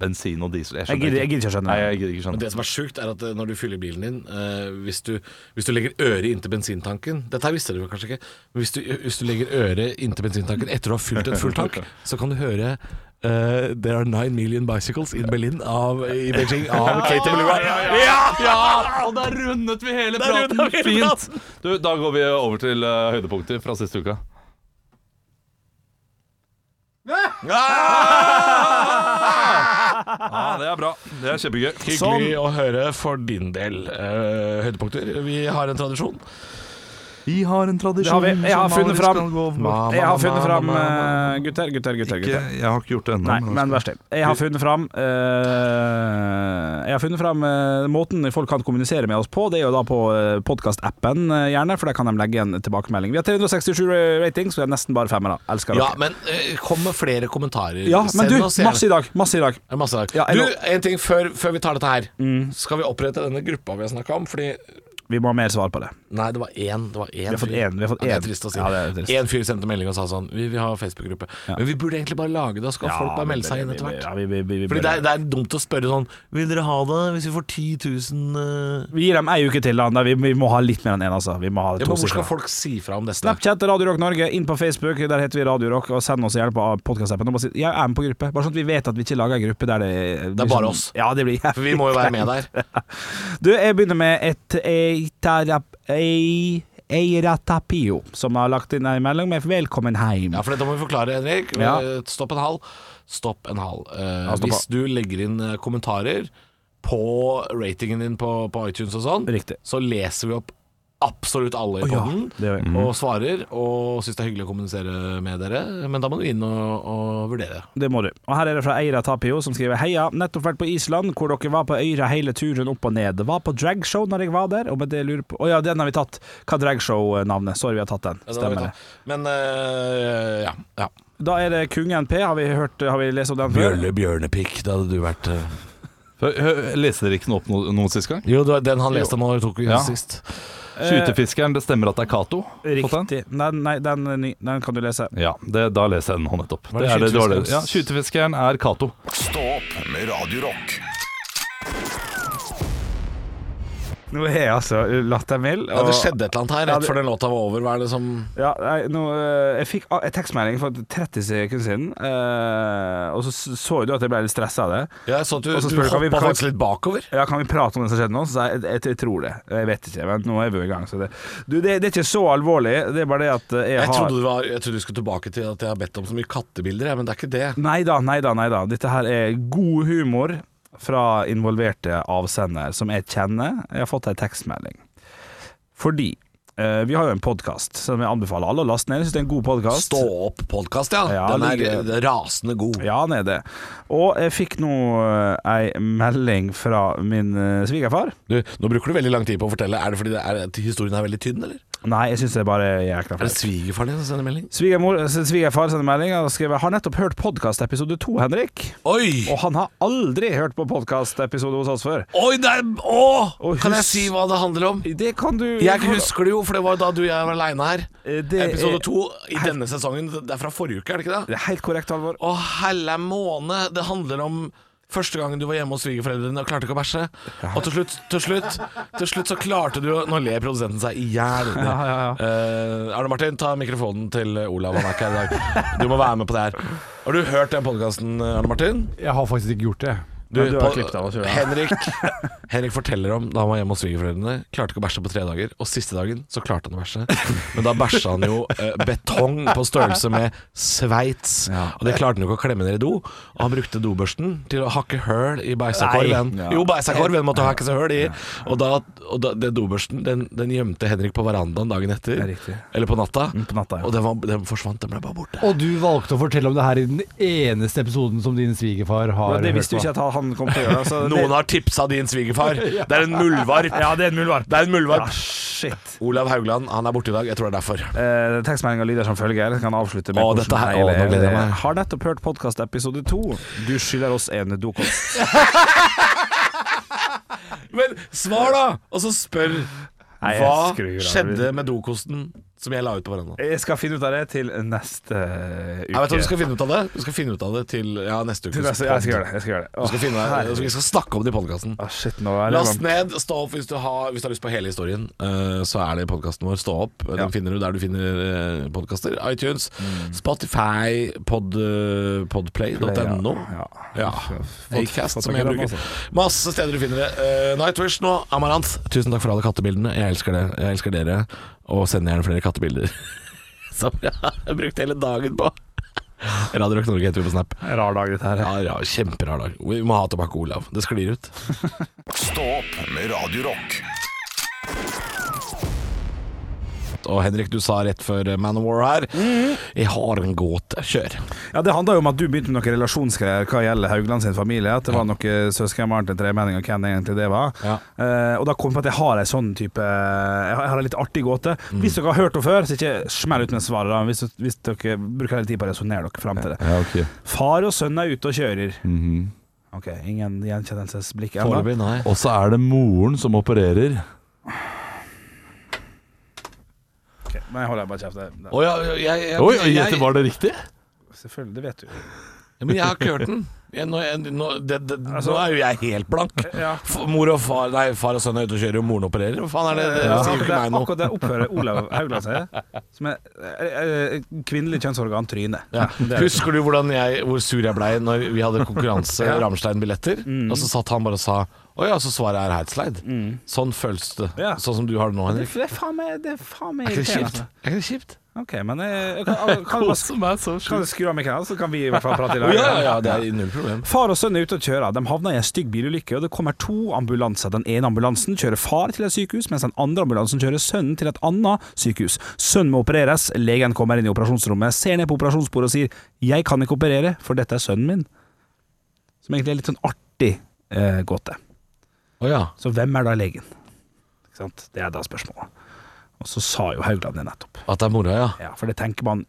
Speaker 2: bensin og diesel.
Speaker 3: Jeg
Speaker 2: Jeg skjønner
Speaker 3: gidder jeg
Speaker 2: ikke.
Speaker 3: gidder ikke å skjønne
Speaker 2: Nei,
Speaker 3: det.
Speaker 2: jeg gidder ikke
Speaker 1: Men
Speaker 2: skjønne.
Speaker 1: det som er sjukt, er at eh, når du fyller bilen din eh, hvis, du, hvis du legger øret inntil bensintanken Dette her visste dere kanskje ikke, men hvis du, hvis du legger øret inntil bensintanken etter å ha fylt en full tank, så kan du høre eh, There are nine million bicycles in Berlin av, i Beijing av Katie Melura.
Speaker 2: Ja! Og der rundet vi hele
Speaker 1: rundet
Speaker 2: praten.
Speaker 1: vi hele
Speaker 2: Fint. Du, da går vi over til eh, høydepunkter fra siste uka. Ah, det er bra. Det er kjempegøy. Sånn.
Speaker 1: Hyggelig å høre for din del. Eh, høydepunkter. Vi har en tradisjon.
Speaker 2: Vi har en tradisjon
Speaker 3: Det har vi. Jeg har
Speaker 2: som
Speaker 3: funnet
Speaker 2: aldri
Speaker 3: fram.
Speaker 2: skal gå bort.
Speaker 3: Jeg har funnet fram eh, gutter, gutter, gutter.
Speaker 2: Ikke,
Speaker 3: gutter.
Speaker 2: jeg har ikke gjort det ennå.
Speaker 3: Nei,
Speaker 2: men-
Speaker 3: men vær snill. Jeg har funnet fram eh, Jeg har funnet fram eh, måten folk kan kommunisere med oss på. Det er jo da på uh, podkastappen, eh, gjerne, for der kan de legge en tilbakemelding. Vi har 367 ratings, så vi er nesten bare femmere. Elsker
Speaker 1: Ja,
Speaker 3: dere.
Speaker 1: men eh, kom med flere kommentarer.
Speaker 3: Ja, men
Speaker 1: Send
Speaker 3: du,
Speaker 1: oss gjerne-
Speaker 3: masse i dag. Masse i dag.
Speaker 1: Det er masse der.
Speaker 3: Ja,
Speaker 1: du,
Speaker 3: eller- Mm.
Speaker 1: en ting før, før vi tar dette her. Skal vi opprette denne gruppa vi har snakka om? Fordi
Speaker 3: Vi må ha mer svar på det.
Speaker 1: Nei, det var én. Det var én
Speaker 3: har fått
Speaker 1: fyr.
Speaker 3: én, vi har fått
Speaker 1: ja, det
Speaker 3: én.
Speaker 1: er trist å si.
Speaker 3: Ja, det er trist.
Speaker 1: Én fyr sendte melding og sa sånn Vi vil ha Facebook-gruppe. Men vi burde egentlig bare lage det, og så skal folk bare melde seg inn etter hvert.
Speaker 3: Ja, vi, vi, vi, vi,
Speaker 1: Fordi det er, det er dumt å spørre sånn Vil dere ha det hvis vi får 10 000 eh,
Speaker 3: vi gir dem ei uke til, da. Nei, Vi, vi må ha litt mer enn én, altså. Vi må ha
Speaker 1: ja,
Speaker 3: to
Speaker 1: men Hvor skal
Speaker 3: sifre.
Speaker 1: folk si fra om dette?
Speaker 3: Snapchat Radio Rock Norge, inn på Facebook, der heter vi Radio Rock, og send oss gjerne på podkastappen. Og bare si 'jeg er med på gruppe', bare sånn at vi vet at vi ikke lager en gruppe der det sånn-
Speaker 1: Det er bare oss.
Speaker 3: Ja, det blir
Speaker 1: For vi må jo være med der.
Speaker 3: Du, jeg begynner med et eitarap- ei- Eiratapio, som har lagt inn en melding med 'velkommen heim'.
Speaker 1: Ja, For dette må vi forklare, Henrik.
Speaker 3: Ja.
Speaker 1: Eh, Stopp en hal. Stopp en hal. Eh,
Speaker 3: Ja, stopp
Speaker 1: hvis du legger inn eh, kommentarer på ratingen din på, på iTunes og sånn,
Speaker 3: Riktig.
Speaker 1: så leser vi opp absolutt alle i
Speaker 3: Å ja,
Speaker 1: podden
Speaker 3: det gjør vi. Mhm.
Speaker 1: og svarer. Og syns det er hyggelig å kommunisere med dere, men da må du inn og, og vurdere.
Speaker 3: Det må du. Og her er det fra Eira Tapio som skriver Heia, nettopp vært på Island hvor dere var på øyra hele turen opp og ned. Var på dragshow når jeg var der, og med det lurer på Å ja, den har vi tatt. Hva er dragshow-navnet? Sorry, vi har tatt den.
Speaker 1: Ja, det har vi
Speaker 3: Stemmer det.
Speaker 1: tatt. Men eh, ja. ja.
Speaker 3: Da er det Kung NP, har vi hørt Har vi lest om den før?
Speaker 1: Bjørle Bjørnepikk, det hadde du vært eh.
Speaker 2: Hø- hø- Leste dere ikke noe opp noe, noe sist gang?
Speaker 1: Jo, det var den han leste nå, tok vi
Speaker 2: Ja.
Speaker 1: sist.
Speaker 2: Skytefiskeren, det stemmer at det er Cato? Fått den?
Speaker 3: Riktig. Nei, nei den, er ny. den kan du lese.
Speaker 2: Ja, det, da leser jeg den nå nettopp.
Speaker 1: Hva er
Speaker 2: Det er det, det, var det.
Speaker 1: skytefiskeren?
Speaker 2: Ja, skytefiskeren er Cato.
Speaker 5: Stå opp med Radio Rock.
Speaker 3: Nå er jeg altså lattermild.
Speaker 1: Ja, det
Speaker 3: og-
Speaker 1: skjedde et eller annet her
Speaker 3: Ja,
Speaker 1: rett
Speaker 3: det-
Speaker 1: før den låta var over. Hva er det som
Speaker 3: Ja, nei, nå, eh, jeg fikk a- en tekstmelding for 30 sekunder siden, eh, og så s- så jo du at jeg ble litt stressa av det.
Speaker 1: Jeg så at du,
Speaker 3: Og så
Speaker 1: du
Speaker 3: spør du, kan vi-
Speaker 1: hoppa
Speaker 3: kan vi-
Speaker 1: faktisk litt bakover.
Speaker 3: Ja, Kan vi prate om det som skjedde nå? Så sa jeg, jeg, jeg tror det. Jeg vet ikke, men nå er vi i gang. Så det. Du, det, det er ikke så alvorlig. Det er bare det at eh, jeg,
Speaker 1: Jeg
Speaker 3: har
Speaker 1: trodde, du var, jeg trodde du skulle tilbake til at jeg har bedt om så mye kattebilder, jeg, men det er ikke det.
Speaker 3: Nei da, nei da, nei da. Dette her er god humor fra involverte avsender som jeg kjenner. Jeg har fått ei tekstmelding. Fordi eh, vi har jo en podkast som jeg anbefaler alle å laste ned. Jeg syns det er en god podkast.
Speaker 1: Stå opp-podkast, ja.
Speaker 3: Ja,
Speaker 1: Den er
Speaker 3: ligger-
Speaker 1: eh, rasende god.
Speaker 3: Ja, han er det. Og jeg fikk nå eh, ei melding fra min eh, svigerfar.
Speaker 1: Du, nå bruker du veldig lang tid på å fortelle. Er det fordi det er, at historien er veldig tynn, eller?
Speaker 3: Nei, jeg syns det er bare jækla
Speaker 1: Er det
Speaker 3: flaut.
Speaker 1: svigerfaren din som sender melding?
Speaker 3: Svigermor, eh, svigerfar sender melding og skriver Har nettopp hørt podkast episode to, Henrik.
Speaker 1: Oi!
Speaker 3: Og han har aldri hørt på podkast episode hos oss før.
Speaker 1: Oi, det er Åh!
Speaker 3: Og
Speaker 1: Kan jeg
Speaker 3: hus-
Speaker 1: si hva det handler om?
Speaker 3: Det kan du
Speaker 1: Jeg husker det jo, for det var jo da du og jeg var aleine her.
Speaker 3: Eh, det
Speaker 1: Episode
Speaker 3: er-
Speaker 1: to i denne sesongen. Det er fra forrige uke, er det ikke det?
Speaker 3: Det er helt korrekt, Halvor.
Speaker 1: Å, helle måne. Det handler om Første gangen du var hjemme hos svigerforeldrene og klarte ikke å bæsje. Og til slutt, til slutt Til slutt så klarte du å Nå ler produsenten seg i hjel.
Speaker 3: Ja, ja,
Speaker 1: Eh, Arne Martin, ta mikrofonen til Olav. Han er ikke her i dag. Du må være med på det her. Har du hørt den podkasten, Arne Martin?
Speaker 4: Jeg har faktisk ikke gjort det.
Speaker 1: Du,
Speaker 3: du har
Speaker 1: på,
Speaker 3: klippet av oss, jo, ja.
Speaker 1: Henrik, Henrik forteller om da han var hjemme hos svigerforeldrene. Klarte ikke å bæsje på tre dager, og siste dagen så klarte han å bæsje. Men da bæsja han jo eh, betong på størrelse med Sveits, og det klarte han jo ikke å klemme ned i do. Og han brukte dobørsten til å hakke høl i beisakorven.
Speaker 3: Nei.
Speaker 1: Jo, beisakorven måtte hakke seg høl i. Og da, og da den dobørsten den, den gjemte Henrik på verandaen dagen etter,
Speaker 3: Det er riktig. Mm,
Speaker 1: eller på natta,
Speaker 3: På natta, ja.
Speaker 1: og den, var, den forsvant. Den ble bare borte.
Speaker 4: Og du valgte å fortelle om det her i den eneste episoden som din svigerfar har
Speaker 3: Ja, det
Speaker 4: hørt
Speaker 3: visste jo
Speaker 4: på.
Speaker 3: ikke at han kom til å gjøre. Så
Speaker 1: Noen har tipsa din svigerfar. Det er en muldvarp.
Speaker 3: Ja, det er en muldvarp.
Speaker 1: Det er en muldvarp.
Speaker 3: Ja, shit.
Speaker 1: Olav Haugland, han er borte i dag. Jeg tror det er derfor.
Speaker 3: Eh, Tekstmeldinga lyder som følger. Jeg Kan avslutte med
Speaker 1: Å,
Speaker 3: hvordan
Speaker 1: dette her-
Speaker 3: hele
Speaker 1: å, nå gleder jeg
Speaker 3: det-
Speaker 1: meg.
Speaker 3: Har nettopp hørt podkast episode to. Du skylder oss en dokost.
Speaker 1: Men svar, da! Og så spør
Speaker 3: Nei, jeg
Speaker 1: Hva
Speaker 3: skrur av.
Speaker 1: skjedde med dokosten som jeg la ut på verandaen?
Speaker 3: Jeg skal finne ut av det til neste uke.
Speaker 1: Jeg vet at Du skal finne ut av det Du skal finne ut av det til ja, neste uke.
Speaker 3: Til neste, ja, jeg skal gjøre det. Jeg skal gjøre det.
Speaker 1: Du skal finne,
Speaker 3: Åh,
Speaker 1: vi skal snakke om det i podkasten.
Speaker 3: herregud. Åh, shit, nå er sånn det
Speaker 1: Last ned, stå opp hvis du har, hvis du har lyst på hele historien. eh, så er det i podkasten vår. Stå opp. Den
Speaker 3: Ja. Mm.
Speaker 1: finner du der du finner uh, podkaster. iTunes, Spotify, pod, eh, podplay.no.
Speaker 3: Ja.
Speaker 1: Ja.
Speaker 3: Fått-
Speaker 1: Acast,
Speaker 3: fått
Speaker 1: som
Speaker 3: tak i
Speaker 1: jeg
Speaker 3: dem,
Speaker 1: bruker.
Speaker 3: altså.
Speaker 1: Masse steder du finner det. Eh, Nightwish nå, Amaranth. Tusen takk for alle kattebildene. Jeg elsker det. Jeg elsker dere. Og send gjerne flere kattebilder. som jeg har brukt hele dagen på. Radio Rock Norge heter vi på Snap.
Speaker 3: Rar dag, dette her.
Speaker 1: Ja, ja, Kjemperar dag. Vi må ha tilbake Olav. Det sklir ut.
Speaker 5: Stå opp med Radio Rock.
Speaker 1: Og Henrik, du sa rett før eh, Man of War her
Speaker 3: Mhm.
Speaker 1: Jeg har en gåte. Kjør.
Speaker 3: Ja, Det handla jo om at du begynte med noen relasjonsgreier hva gjelder Haugland sin familie. At det var noen søsken Martin Tremenning og hvem egentlig det var.
Speaker 1: Ja.
Speaker 3: Eh, og da kom jeg på at jeg har ei sånn type Jeg har jeg har ei litt artig gåte.
Speaker 1: Mm.
Speaker 3: Hvis dere har hørt henne før, så ikke smell ut med svaret. da Hvis, hvis dere bruker litt tid på å resonnere dere fram til det.
Speaker 2: Ja, ok.
Speaker 3: Far og sønn er ute og kjører.
Speaker 2: Mhm.
Speaker 3: Ok, Ingen gjenkjennelsesblikk ennå.
Speaker 1: Foreløpig, nei.
Speaker 2: Og så er det moren som opererer.
Speaker 3: Ok, Nei, holder jeg bare kjeft. Det- det-
Speaker 1: Å ja, jeg, jeg, jeg,
Speaker 2: Oi, gjette, var det riktig?
Speaker 3: Selvfølgelig, det vet du.
Speaker 1: Men jeg har ikke hørt den. Jeg, nå, jeg, nå, det, det, nå
Speaker 3: Altså-
Speaker 1: er jo jeg helt blank.
Speaker 3: Ja.
Speaker 1: F- Mor og far Nei, far og sønn er ute og kjører, og moren opererer. Hva faen er det? Det sier jo ikke
Speaker 3: Akkurat
Speaker 1: meg
Speaker 3: det-
Speaker 1: noe.
Speaker 3: Akkurat det opphøret Olav Haugland sier, som er eh, eh, kvinnelig kjønnsorgan trynet.
Speaker 1: Ja.
Speaker 3: Det er-
Speaker 1: Husker du hvordan jeg, hvor sur jeg blei når vi hadde konkurranse Ramstein-billetter?
Speaker 3: Mm.
Speaker 1: Og så satt han bare og sa Å ja, så svaret er Heidsleid. Sånn føles det.
Speaker 3: Ja.
Speaker 1: Sånn som du har det nå,
Speaker 3: Det
Speaker 1: Henrik.
Speaker 3: er faen meg, det er altså. faen meg
Speaker 1: Er ikke det kjipt?
Speaker 3: irriterende.
Speaker 1: Er ikke det kjipt?
Speaker 3: Ok, men eh, jeg, kan, kan, kan, du bare- kan du skru av mikrofonen, så kan vi i hvert fall prate
Speaker 1: Å
Speaker 3: i lag?
Speaker 1: ja, ja, ja, det er null problem.
Speaker 3: Far og sønn er ute og kjører. De havner i en stygg bilulykke, og det kommer to ambulanser. Den ene ambulansen kjører far til et sykehus, mens den andre ambulansen kjører sønnen til et annet sykehus. Sønnen må opereres, legen kommer inn i operasjonsrommet, ser ned på operasjonsbordet og sier 'Jeg kan ikke operere, for dette er sønnen min'. Som egentlig er litt sånn artig eh, gåte.
Speaker 1: Å ja.
Speaker 3: Så hvem er da legen? Ikke sant? Det er da spørsmålet. Og så sa jo Haugland det nettopp.
Speaker 1: At det er mora, ja.
Speaker 3: Ja, for det tenker man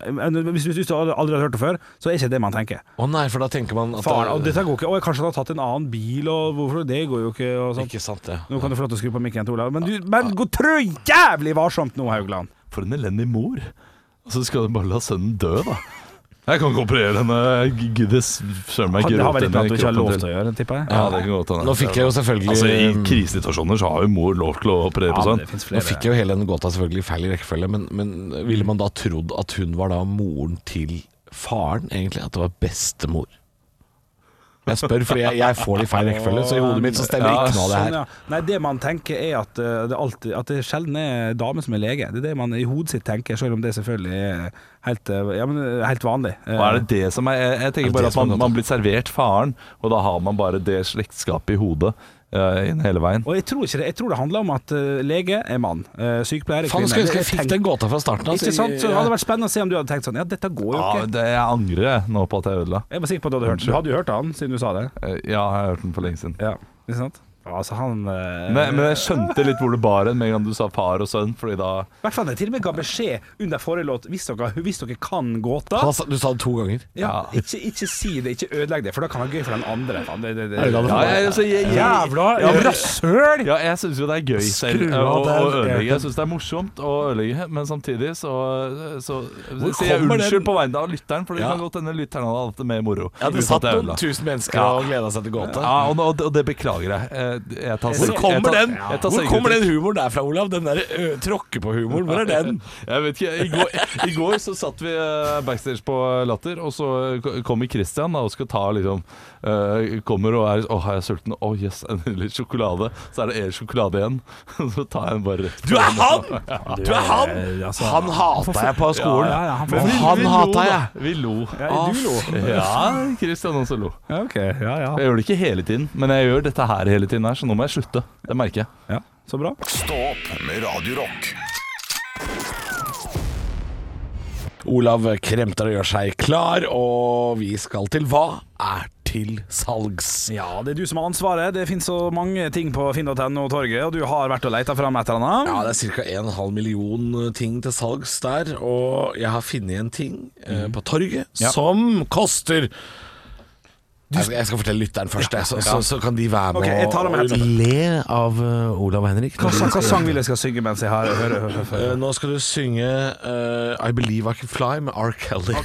Speaker 3: Hvis, hvis du aldri har hørt det før, så er ikke det man tenker.
Speaker 1: Å nei, for da tenker man at
Speaker 3: Faren, og dette går ikke Å, kanskje han har tatt en annen bil, og hvorfor det går jo ikke, og sånt.
Speaker 1: Ikke sant, det.
Speaker 3: Nå kan du få lov til å skru på mikken til Olav, men, du, men gå trø jævlig varsomt nå, Haugland!
Speaker 2: For en elendig mor. Og så skal hun bare la sønnen dø, da. Jeg kan ikke operere henne. Jeg gidder søren meg
Speaker 3: Det
Speaker 2: ikke
Speaker 3: har vel litt med at
Speaker 2: i
Speaker 3: du ikke har
Speaker 2: kroppen
Speaker 3: lov
Speaker 2: til.
Speaker 3: til å gjøre, tipper jeg.
Speaker 2: Ja, det kan godt hende.
Speaker 1: Nå fikk jeg jo selvfølgelig mm.
Speaker 2: Altså, I krisesituasjoner så har jo mor lov til å operere
Speaker 3: Ja,
Speaker 2: på sånn.
Speaker 3: det finnes
Speaker 1: Nå
Speaker 3: flere.
Speaker 1: fikk jeg jo hele den gåta selvfølgelig i feil rekkefølge, men, men ville man da trodd at hun var da moren til faren, egentlig? At det var bestemor? Jeg spør fordi jeg, jeg får det i feil rekkefølge, så i hodet mitt så stemmer
Speaker 2: Ja,
Speaker 1: ikke noe av det
Speaker 3: Sånn,
Speaker 1: her.
Speaker 3: ja. Nei, det man tenker er at eh, det, alltid, at det sjelden er damer som er lege. Det er det man i hodet sitt tenker, selv om det selvfølgelig er helt, eh, ja, men, eh, helt vanlig. Eh,
Speaker 2: Og er det det som er Jeg, jeg
Speaker 1: Er det
Speaker 2: tenker bare
Speaker 1: det
Speaker 2: at
Speaker 1: som er
Speaker 2: man,
Speaker 1: godt, da?
Speaker 2: man blir servert faren, og da har man bare det slektskapet i hodet eh, inn hele veien.
Speaker 3: Og jeg tror ikke det. Jeg tror det handler om at eh, lege er mann, eh, sykepleier er
Speaker 1: Faen,
Speaker 3: kvinne.
Speaker 1: skulle ønske
Speaker 3: Det
Speaker 1: jeg
Speaker 3: er
Speaker 1: fikk
Speaker 3: tenkt-
Speaker 1: den gåta fra starten av.
Speaker 3: Ikke sant? Så det hadde vært spennende å se om du hadde tenkt sånn Ja, dette går jo
Speaker 2: Ja,
Speaker 3: ikke.
Speaker 2: det, jeg angrer jeg nå på at jeg ødela.
Speaker 3: Jeg var sikker på at du hadde hørt Du hadde jo hørt han, siden du sa det.
Speaker 2: Eh, Ja, jeg har hørt den for lenge siden.
Speaker 3: Ja, ikke sant? Altså, han eh,
Speaker 2: Men, men jeg skjønte litt hvor det bar hen med en gang du sa far og sønn, fordi da
Speaker 3: I hvert fall det til og med ga beskjed under forrige låt hvis dere, hvis dere kan gåta.
Speaker 1: Han sa- Du sa det to ganger.
Speaker 3: Ja, ikke, ikke si det, ikke ødelegg det, for da kan det være gøy for den andre. faen. Det, det, det.
Speaker 1: Er det da det
Speaker 2: Ja, jeg, altså, jeg, jeg,
Speaker 3: Jævla rasshøl!
Speaker 2: Ja, jeg syns jo det er gøy selv
Speaker 3: Skru
Speaker 2: eh, å,
Speaker 3: av
Speaker 2: å
Speaker 3: den
Speaker 2: ødelegge. Jeg syns det er morsomt å ødelegge, men samtidig så, så
Speaker 1: Hvor
Speaker 2: sier jeg
Speaker 1: kommer den-
Speaker 2: unnskyld på vegne av lytteren, for det
Speaker 1: Ja.
Speaker 2: kan godt hende lytteren hadde hatt det mer moro.
Speaker 1: Ja, det
Speaker 2: uten
Speaker 1: satt
Speaker 2: at jeg
Speaker 1: noen
Speaker 2: ødela.
Speaker 1: tusen mennesker
Speaker 2: Ja.
Speaker 1: og gleda seg til gåta.
Speaker 2: Ja, og, og, og det beklager jeg. Eh, jeg
Speaker 1: Hvor
Speaker 2: tar selv- jeg
Speaker 1: kommer
Speaker 2: tar-
Speaker 1: den,
Speaker 2: jeg
Speaker 1: hvor
Speaker 2: tar selvkritikk.
Speaker 1: kommer den humoren der fra, Olav? Den der ø, tråkke på humoren, hvor er den?
Speaker 2: Jeg vet ikke, i går, I går så satt vi eh, backstage på Latter, og så eh, kommer Christian da, og skal ta liksom eh, Kommer og er Å, er jeg sulten? Å, yes, en litt sjokolade. Så er det en sjokolade igjen. Så tar jeg den bare rett
Speaker 1: Du er han! Du er han!
Speaker 3: Ja, altså.
Speaker 1: Han hata jeg på skolen.
Speaker 3: Ja, ja, ja, han
Speaker 1: Men
Speaker 3: får-
Speaker 1: han hata jeg.
Speaker 2: Vi lo.
Speaker 3: Ja, du lo.
Speaker 2: Ja, Christian også lo.
Speaker 3: Ja, ok. Ja, ja.
Speaker 2: Jeg gjør det ikke hele tiden, men jeg gjør dette her hele tiden, her, så nå må jeg slutte. Det merker jeg.
Speaker 3: ja. Så bra.
Speaker 5: Stå opp med Radio Rock.
Speaker 1: Olav kremter og gjør seg klar, og vi skal til hva er til salgs.
Speaker 3: Ja, det er du som har ansvaret. Det finnes så mange ting på finn.no og torget, og du har vært og leita fram et eller annet.
Speaker 1: Ja, det er ca. 1,5 million ting til salgs der, og jeg har funnet en ting
Speaker 3: Mm.
Speaker 1: eh, på torget som koster jeg skal, jeg skal fortelle lytteren først, jeg, så, så, så kan de være med
Speaker 3: Ok, jeg tar det med
Speaker 1: og- og
Speaker 3: headsetet.
Speaker 1: le av eh, Olav og Henrik.
Speaker 3: Hva,
Speaker 1: når de
Speaker 3: sa-
Speaker 1: skal-
Speaker 3: hva sang vil jeg skal synge mens jeg har hører, hører, hører, hører.
Speaker 1: Eh, nå skal du synge eh, I Believe I Can Fly med R. Kelly.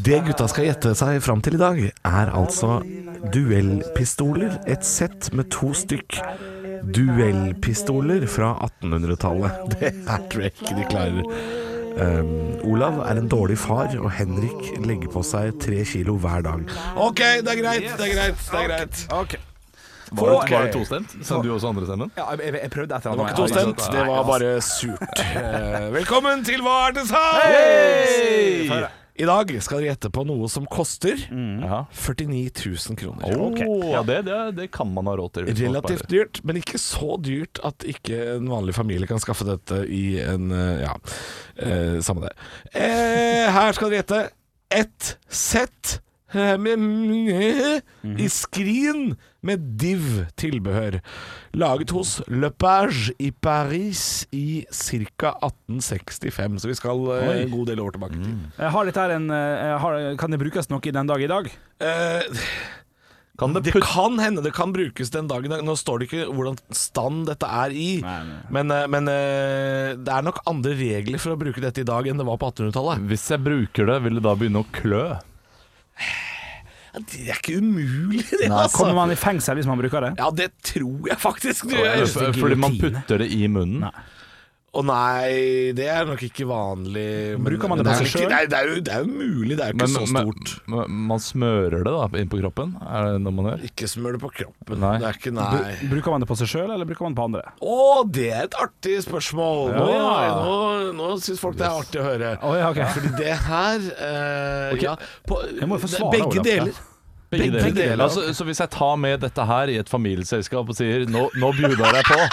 Speaker 1: Det gutta skal gjette seg fram til i dag, er altså duellpistoler. Et sett med to stykk duellpistoler fra 1800-tallet. Det er tror jeg ikke de klarer. Um, Olav er en dårlig far, og Henrik legger på seg tre kilo hver dag. OK, det er greit, det er greit. det er greit
Speaker 3: Ok.
Speaker 2: Var
Speaker 3: Få-
Speaker 2: det, var det tostemt? Sendte du også andre stemmen?
Speaker 3: Ja, jeg, jeg prøvde et
Speaker 1: Det
Speaker 3: eller annet.
Speaker 1: var ikke tostemt, det var
Speaker 2: altså.
Speaker 1: bare surt. Eh, Velkommen til Hva er det sant?
Speaker 2: Hey!
Speaker 1: I dag skal dere gjette på noe som koster
Speaker 2: Ja.
Speaker 1: 49 000 kroner.
Speaker 2: Åh, ja, det, det, det kan man ha råd til. hvis man
Speaker 1: Relativt
Speaker 2: sparer.
Speaker 1: dyrt, men ikke så dyrt at ikke en vanlig familie kan skaffe dette i en eh, Ja, eh, samme det. Eh, her skal dere gjette. Ett sett eh, med m- i skrin med div-tilbehør. Laget hos Le Page i Paris i ca. 1865. Så vi skal eh, en god del år tilbake. til
Speaker 3: Jeg Har dette her en eh, har, Kan det brukes noe i den dag i dag?
Speaker 1: Eh,
Speaker 2: Kan det
Speaker 1: Det
Speaker 2: putt...
Speaker 1: kan hende det kan brukes den dagen. Nå står det ikke hvordan stand dette er i,
Speaker 3: Nei, nei.
Speaker 1: men, eh, men eh, det er nok andre regler for å bruke dette i dag enn det var på 1800-tallet.
Speaker 2: Hvis jeg bruker det, vil det da begynne å klø?
Speaker 1: Ja, det er ikke umulig, det,
Speaker 3: Kommer
Speaker 1: altså.
Speaker 3: man i fengsel hvis man bruker det?
Speaker 1: Ja, det tror jeg faktisk du
Speaker 2: Eller
Speaker 1: gjør.
Speaker 2: f- Fordi man putter det i munnen?
Speaker 3: Nei.
Speaker 1: Å nei, det er nok ikke vanlig. men-
Speaker 3: Bruker man det
Speaker 1: men
Speaker 3: på
Speaker 1: er
Speaker 3: seg
Speaker 1: ikke-
Speaker 3: selv?
Speaker 1: Nei, det er jo- det er jo mulig, det er jo ikke
Speaker 2: Men,
Speaker 1: så
Speaker 2: men,
Speaker 1: stort.
Speaker 2: men man smører det da inn på kroppen? Er det noe man gjør?
Speaker 1: Ikke smør det på kroppen.
Speaker 2: Nei.
Speaker 1: Det er ikke
Speaker 3: Bru-
Speaker 1: nei.
Speaker 3: Bruker man det på seg sjøl, eller bruker man det på andre?
Speaker 1: Å, det er et artig spørsmål. Nå, ja.
Speaker 3: Ja.
Speaker 1: nå, nå syns folk det er artig å høre.
Speaker 3: Å, ja, ok.
Speaker 1: Fordi det her eh, ja, på,
Speaker 3: Jeg må jo få svare,
Speaker 1: Begge
Speaker 3: Olav.
Speaker 1: deler.
Speaker 2: Begge deler.
Speaker 1: Begge deler,
Speaker 2: Altså, så hvis jeg tar med dette her i et familieselskap og sier nå, nå bjuder jeg på,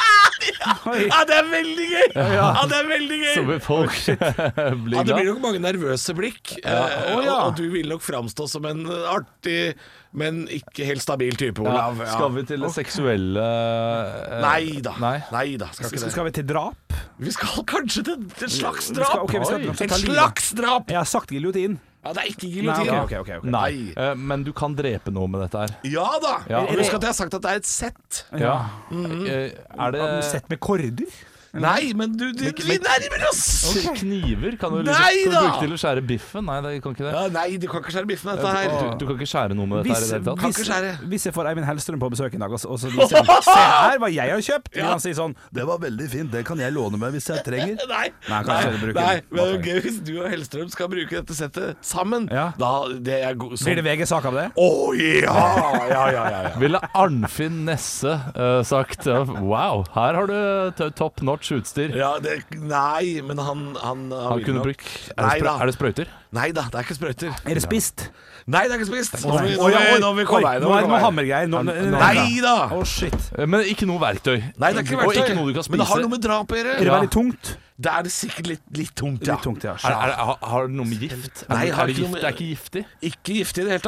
Speaker 1: Ja, det er veldig gøy! Ja, det er veldig gøy!
Speaker 2: så vil folk bli
Speaker 1: Ja, det blir
Speaker 2: glad.
Speaker 1: nok mange nervøse blikk, eh, og, og du vil nok framstå som en artig, men ikke helt stabil type, Olav. Ja.
Speaker 2: Skal vi til det seksuelle eh,
Speaker 1: Nei da. Nei.
Speaker 2: Nei.
Speaker 1: da, skal
Speaker 3: Skal,
Speaker 1: ikke det.
Speaker 3: skal vi til drap?
Speaker 1: Vi skal kanskje til til et slags
Speaker 3: Vi skal-
Speaker 1: drap!
Speaker 3: ok, vi skal- vi skal
Speaker 1: Et
Speaker 3: ta livet.
Speaker 1: slags drap!
Speaker 3: Jeg har sagt giljotin.
Speaker 1: Ja, det er ikke
Speaker 3: Nei,
Speaker 1: giljotin.
Speaker 3: ok, ok, ok, ok.
Speaker 2: Nei.
Speaker 1: Nei.
Speaker 2: Eh, Men du kan drepe noe med dette her.
Speaker 1: Ja da!
Speaker 2: Ja.
Speaker 1: Husk at jeg har sagt at det er et sett.
Speaker 2: Ja. Eh, Er det
Speaker 3: Sett med korder?
Speaker 1: Nei, men du, du Vi nærmer oss!
Speaker 2: Kniver kan du liksom
Speaker 1: Nei
Speaker 2: kan du
Speaker 1: da!
Speaker 2: bruke til å skjære biffen. Nei, det kan ikke det.
Speaker 1: Ja, nei, du kan ikke skjære biffen med dette her.
Speaker 2: Du, du kan ikke skjære noe med dette her
Speaker 3: Hvis,
Speaker 2: i det hele tatt.
Speaker 3: hvis,
Speaker 1: ikke skjære.
Speaker 3: hvis jeg får Eivind Hellstrøm på besøk en dag, og så, og så viser han Se her hva jeg har kjøpt! Og han sier sånn Det var veldig fint, det kan jeg låne meg hvis jeg trenger.
Speaker 1: Nei,
Speaker 3: Nei, kanskje
Speaker 1: nei,
Speaker 3: du bruker
Speaker 1: nei,
Speaker 3: den.
Speaker 1: men det er jo gøy hvis du og Hellstrøm skal bruke dette settet sammen.
Speaker 3: Ja.
Speaker 1: Da det er go sånn-
Speaker 3: Blir det VG-sak av det?
Speaker 1: Å ja! Ja, ja, ja. ja.
Speaker 2: Ville Arnfinn Nesse eh, sagt eh, Wow, her har du t- top notch utstyr.
Speaker 1: ja det, nei, men han Han,
Speaker 2: Han kunne brukt er
Speaker 1: Nei
Speaker 2: det,
Speaker 1: da.
Speaker 2: sprø- er det sprøyter?
Speaker 1: Nei da, det er ikke sprøyter.
Speaker 3: Er det spist?
Speaker 1: Nei, det er ikke spist. Nå må vi- nå
Speaker 3: Oi,
Speaker 1: må
Speaker 3: oi,
Speaker 1: vi- nå må vi
Speaker 3: oi,
Speaker 1: komme her,
Speaker 3: Nå
Speaker 1: må vi
Speaker 3: er det
Speaker 1: komme
Speaker 3: noe
Speaker 1: her.
Speaker 3: hammergreier. Nå-
Speaker 1: Nei da!
Speaker 3: Å, shit.
Speaker 2: Eh, Men ikke noe verktøy.
Speaker 1: Nei, det er ikke verktøy.
Speaker 2: Og ikke noe du kan spise.
Speaker 1: Men det har noe med drap å
Speaker 3: Er det
Speaker 1: gjøre.
Speaker 3: veldig tungt?
Speaker 1: Det er det sikkert litt, litt tungt, ja.
Speaker 3: Litt tungt, ja.
Speaker 2: er, er, det- har- har det noe med gift? Er,
Speaker 1: Nei,
Speaker 2: det-
Speaker 1: har
Speaker 2: er det,
Speaker 1: ikke noe
Speaker 2: gift?
Speaker 1: med-
Speaker 2: det er ikke giftig. Eh,
Speaker 1: Ikke giftig i det Mm. hele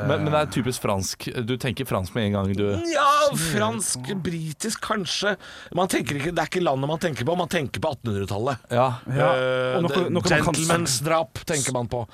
Speaker 1: tatt.
Speaker 2: Men, men det er typisk fransk. Du tenker fransk med en gang du
Speaker 1: Ja, fransk, britisk kanskje. Man tenker ikke, Det er ikke landet man tenker på, man tenker på 1800-tallet.
Speaker 2: Ja.
Speaker 3: Ja,
Speaker 1: Eh,
Speaker 3: og noe-
Speaker 1: det-
Speaker 3: noe man kan-
Speaker 1: Gentlemensdrap tenker man på.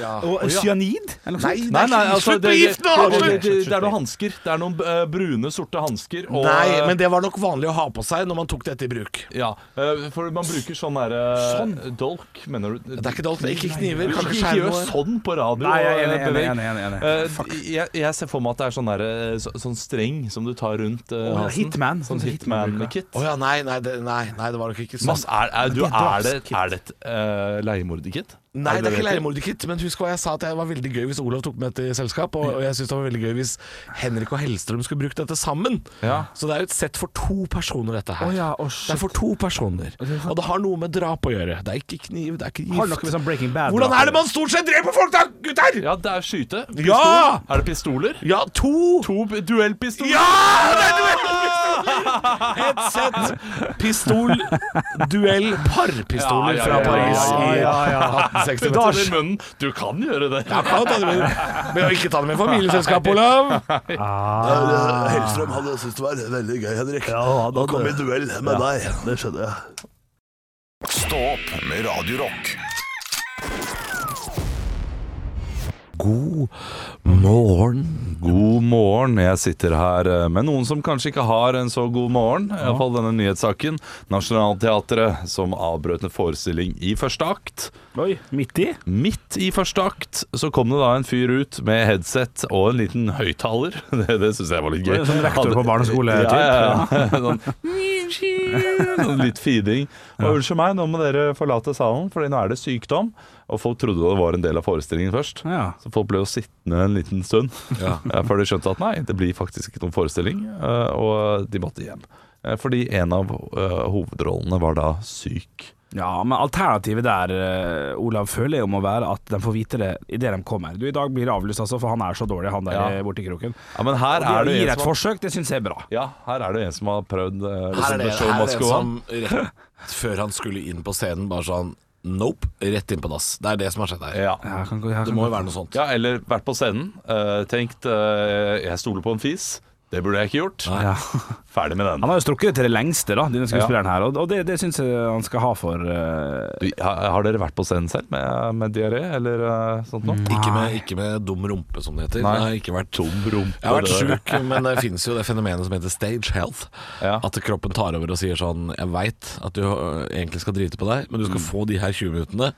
Speaker 1: Ja.
Speaker 3: Og cyanid? Eller noe
Speaker 1: Nei,
Speaker 3: sånt?
Speaker 1: det er ikke
Speaker 2: altså,
Speaker 1: Slutt med gift nå!
Speaker 2: det, det,
Speaker 1: Slutt!
Speaker 2: det, det er noen hansker. Det er noen eh, brune, sorte hansker. Og, eh,
Speaker 1: Nei, men det var nok vanlig å ha på seg når man tok dette i bruk.
Speaker 2: Ja, eh, for man bruker sånn derre
Speaker 3: Sånn?
Speaker 2: Dolk, mener du?
Speaker 1: Det er ikke dalt, ikke kniver,
Speaker 2: Du
Speaker 1: kanskje
Speaker 2: ikke
Speaker 1: skjære
Speaker 2: gjør
Speaker 1: noe.
Speaker 2: sånn på radio.
Speaker 3: altså- Nei, jeg er
Speaker 2: og,
Speaker 3: enig,
Speaker 2: eh,
Speaker 3: enig,
Speaker 2: beveg.
Speaker 3: enig, enig, enig.
Speaker 2: Eh, jeg, jeg ser for meg at det er sånn, derre- så, sånn streng som du tar rundt eh,
Speaker 3: ja,
Speaker 1: altså,
Speaker 2: halsen.
Speaker 3: hitman, sånn
Speaker 2: Sånn
Speaker 3: som hitman bruker.
Speaker 2: hitman-kit.
Speaker 1: Å ja, nei, nei, det, nei, nei, det var nok ikke sånn.
Speaker 2: Mass, er, er, du,
Speaker 3: det er
Speaker 2: er, det,
Speaker 3: drapskit.
Speaker 2: er det et uh, leiemorderkit?
Speaker 1: Nei, det er ikke
Speaker 2: heter?
Speaker 1: leiemorderkit, men husk hva jeg sa at det var veldig gøy hvis Olav tok med til selskap, og, og jeg synes det var veldig gøy hvis Henrik og Hellstrøm skulle brukt dette sammen.
Speaker 2: Ja.
Speaker 1: Så det er jo et sett for to personer, dette her.
Speaker 3: Å ja, å,
Speaker 1: det er for to personer, og det har noe med drap å gjøre. Det er ikke kniv, det er ikke gift.
Speaker 3: Har noe med sånn Breaking Bad
Speaker 1: Hvordan er det man stort sett dreper folk da, gutter?!
Speaker 2: Ja, det er skyte. Pistol.
Speaker 1: Ja!
Speaker 2: Er det pistoler?
Speaker 1: Ja, to!
Speaker 2: To b- duellpistoler?
Speaker 1: Ja! Det er duellpistoler! Ah! Et sett pistol, duell, parpistoler
Speaker 2: Ja, ja,
Speaker 1: fra
Speaker 2: ja,
Speaker 1: Paris
Speaker 2: ja,
Speaker 3: ja, ja.
Speaker 1: i 1860.
Speaker 2: Da er det i munnen. Du kan gjøre det.
Speaker 1: Ja, kan ta det med. Men ikke ta det med familieselskap, Olav.
Speaker 6: Hellstrøm hadde syntes det var veldig gøy, Henrik. Å komme i duell med deg. Det skjønner jeg.
Speaker 5: Stå opp med Radio Rock.
Speaker 2: God morgen. God morgen. Jeg sitter her eh, med noen som kanskje ikke har en så god morgen. I hvert fall denne nyhetssaken. Nationaltheatret som avbrøt en forestilling i første akt.
Speaker 3: Oi, midt i?
Speaker 2: Midt i første akt så kom det da en fyr ut med headset og en liten høyttaler. Det, det syns jeg var litt gøy.
Speaker 3: Sånn rektor på barneskole-typ.
Speaker 2: Ja, ja, ja. Sånn, sånn litt feeding. Og unnskyld meg, nå må dere forlate salen, Fordi nå er det sykdom. Og folk trodde det var en del av forestillingen først.
Speaker 3: Ja.
Speaker 2: Så folk ble jo sittende en liten stund eh, før de skjønte at nei, det blir faktisk ikke noen forestilling. eh, Og de måtte hjem. Eh, Fordi en av eh, hovedrollene var da syk.
Speaker 3: Ja, men alternativet der, eh, Olav, føler jeg jo må være at de får vite det idet de kommer. Du, i dag blir det avlyst, altså, for han er så dårlig, han der
Speaker 2: Ja.
Speaker 3: eh, borti kroken.
Speaker 2: Ja, men her
Speaker 3: Og
Speaker 2: er
Speaker 3: de
Speaker 2: det jo
Speaker 3: gir
Speaker 2: en
Speaker 3: et
Speaker 2: som har
Speaker 3: forsøk, det syns jeg er bra.
Speaker 2: Ja, her er det en som har prøvd eh,
Speaker 1: Her
Speaker 2: liksom,
Speaker 1: er
Speaker 2: The
Speaker 1: det,
Speaker 2: Show
Speaker 1: her er
Speaker 2: Must
Speaker 1: det
Speaker 2: Go On.
Speaker 1: som rett før han skulle inn på scenen, bare sånn Nope, rett inn på dass. Det er det som har skjedd her.
Speaker 2: Ja.
Speaker 3: Ja, kan, gå- her
Speaker 1: Det
Speaker 3: kan,
Speaker 1: må jo være noe sånt.
Speaker 2: ja, eller vært på scenen, eh, tenkt eh, 'jeg stoler på en fis'. Det burde jeg ikke gjort.
Speaker 3: ja.
Speaker 2: Ferdig med den.
Speaker 3: Han har jo strukket det til det lengste, da, denne skuespilleren her, og, og det, det syns jeg han skal ha for eh,
Speaker 2: Du, ha- har dere vært på scenen selv med, med diaré eller eh, sånt noe?
Speaker 1: Ikke med, ikke med dum rumpe, som det heter.
Speaker 2: Nei.
Speaker 1: Jeg har ikke vært tom
Speaker 2: rumpe,
Speaker 1: Jeg har vært
Speaker 2: det der.
Speaker 1: sjuk, men det finnes jo det fenomenet som heter stage health.
Speaker 2: Ja.
Speaker 1: At kroppen tar over og sier sånn Jeg veit at du øh, egentlig skal drite på deg, men du skal få de her 20 minuttene,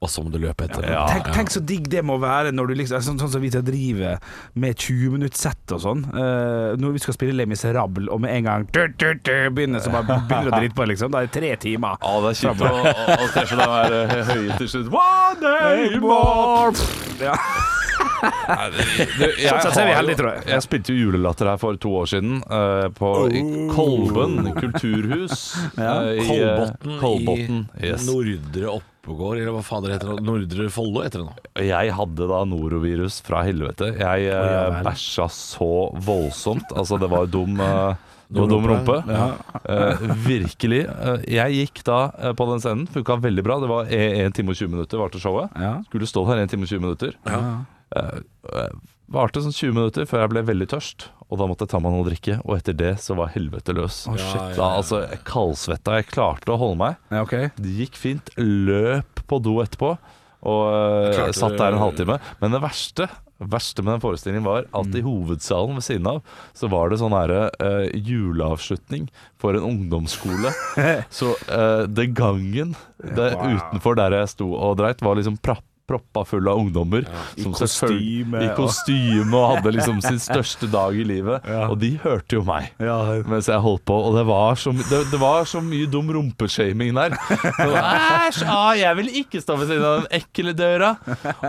Speaker 1: og så må du løpe etter.
Speaker 2: Mm. Ja.
Speaker 3: Tenk, tenk så digg det må være når du liksom altså, Sånn, sånn som vi til driver med 20 minutter sett og sånn. Eh, når vi skal spille Les Miserables, og med en gang du, du, du, begynner så bare begynner å drite på, liksom. Da er det tre timer.
Speaker 2: Ja, det er kjipt å, å, å treffe den der eh, høye til slutt. One day more!
Speaker 3: Ja.
Speaker 2: Nei, det- du, jeg,
Speaker 3: Sånn sett så er vi
Speaker 2: har
Speaker 3: heldige,
Speaker 2: jo-
Speaker 3: tror jeg.
Speaker 2: jeg spilte jo julelatter her for to år siden, eh, på i
Speaker 3: Oh.
Speaker 2: Kolben kulturhus. eh, i, eh,
Speaker 1: Kolbotn i,
Speaker 2: Kolbotn, yes.
Speaker 1: Nordre Oppegård, eller hva fader heter det? Nordre Follo heter det nå.
Speaker 2: Jeg hadde da norovirus fra helvete. Jeg eh,
Speaker 3: vel.
Speaker 2: bæsja så voldsomt. Altså, det var dum, eh, det var dum rumpe. Eh, virkelig. Eh, jeg gikk da eh, på den scenen. Funka veldig bra. Det var 1 time og 20 minutter varte showet.
Speaker 3: Ja.
Speaker 2: Skulle stå der 1 time og 20 minutter. Eh, eh, varte sånn 20 minutter før jeg ble veldig tørst, og da måtte jeg ta meg noe å drikke. Og etter det så var helvete løs.
Speaker 1: shit.
Speaker 2: Da altså, jeg kaldsvetta. Jeg klarte å holde meg.
Speaker 3: Ja, ok.
Speaker 2: Det gikk fint. Løp på do etterpå. Og eh,
Speaker 1: Klarte-
Speaker 2: satt der en halvtime. Men det verste verste med den forestillingen var at
Speaker 3: Mm.
Speaker 2: i hovedsalen ved siden av så var det sånn herre eh, juleavslutning for en ungdomsskole. så eh, det gangen det, utenfor der jeg sto og dreit, var liksom prapp proppa full av ungdommer som selvfølgelig-
Speaker 3: kostyme
Speaker 2: i
Speaker 3: og-
Speaker 2: kostyme og hadde liksom sin største dag i livet. Og de hørte jo meg mens jeg holdt på, og det var så, my- det, det var så mye dum rumpeshaming der. Så, Æsj! Ah, jeg vil ikke stå ved siden av den ekle døra.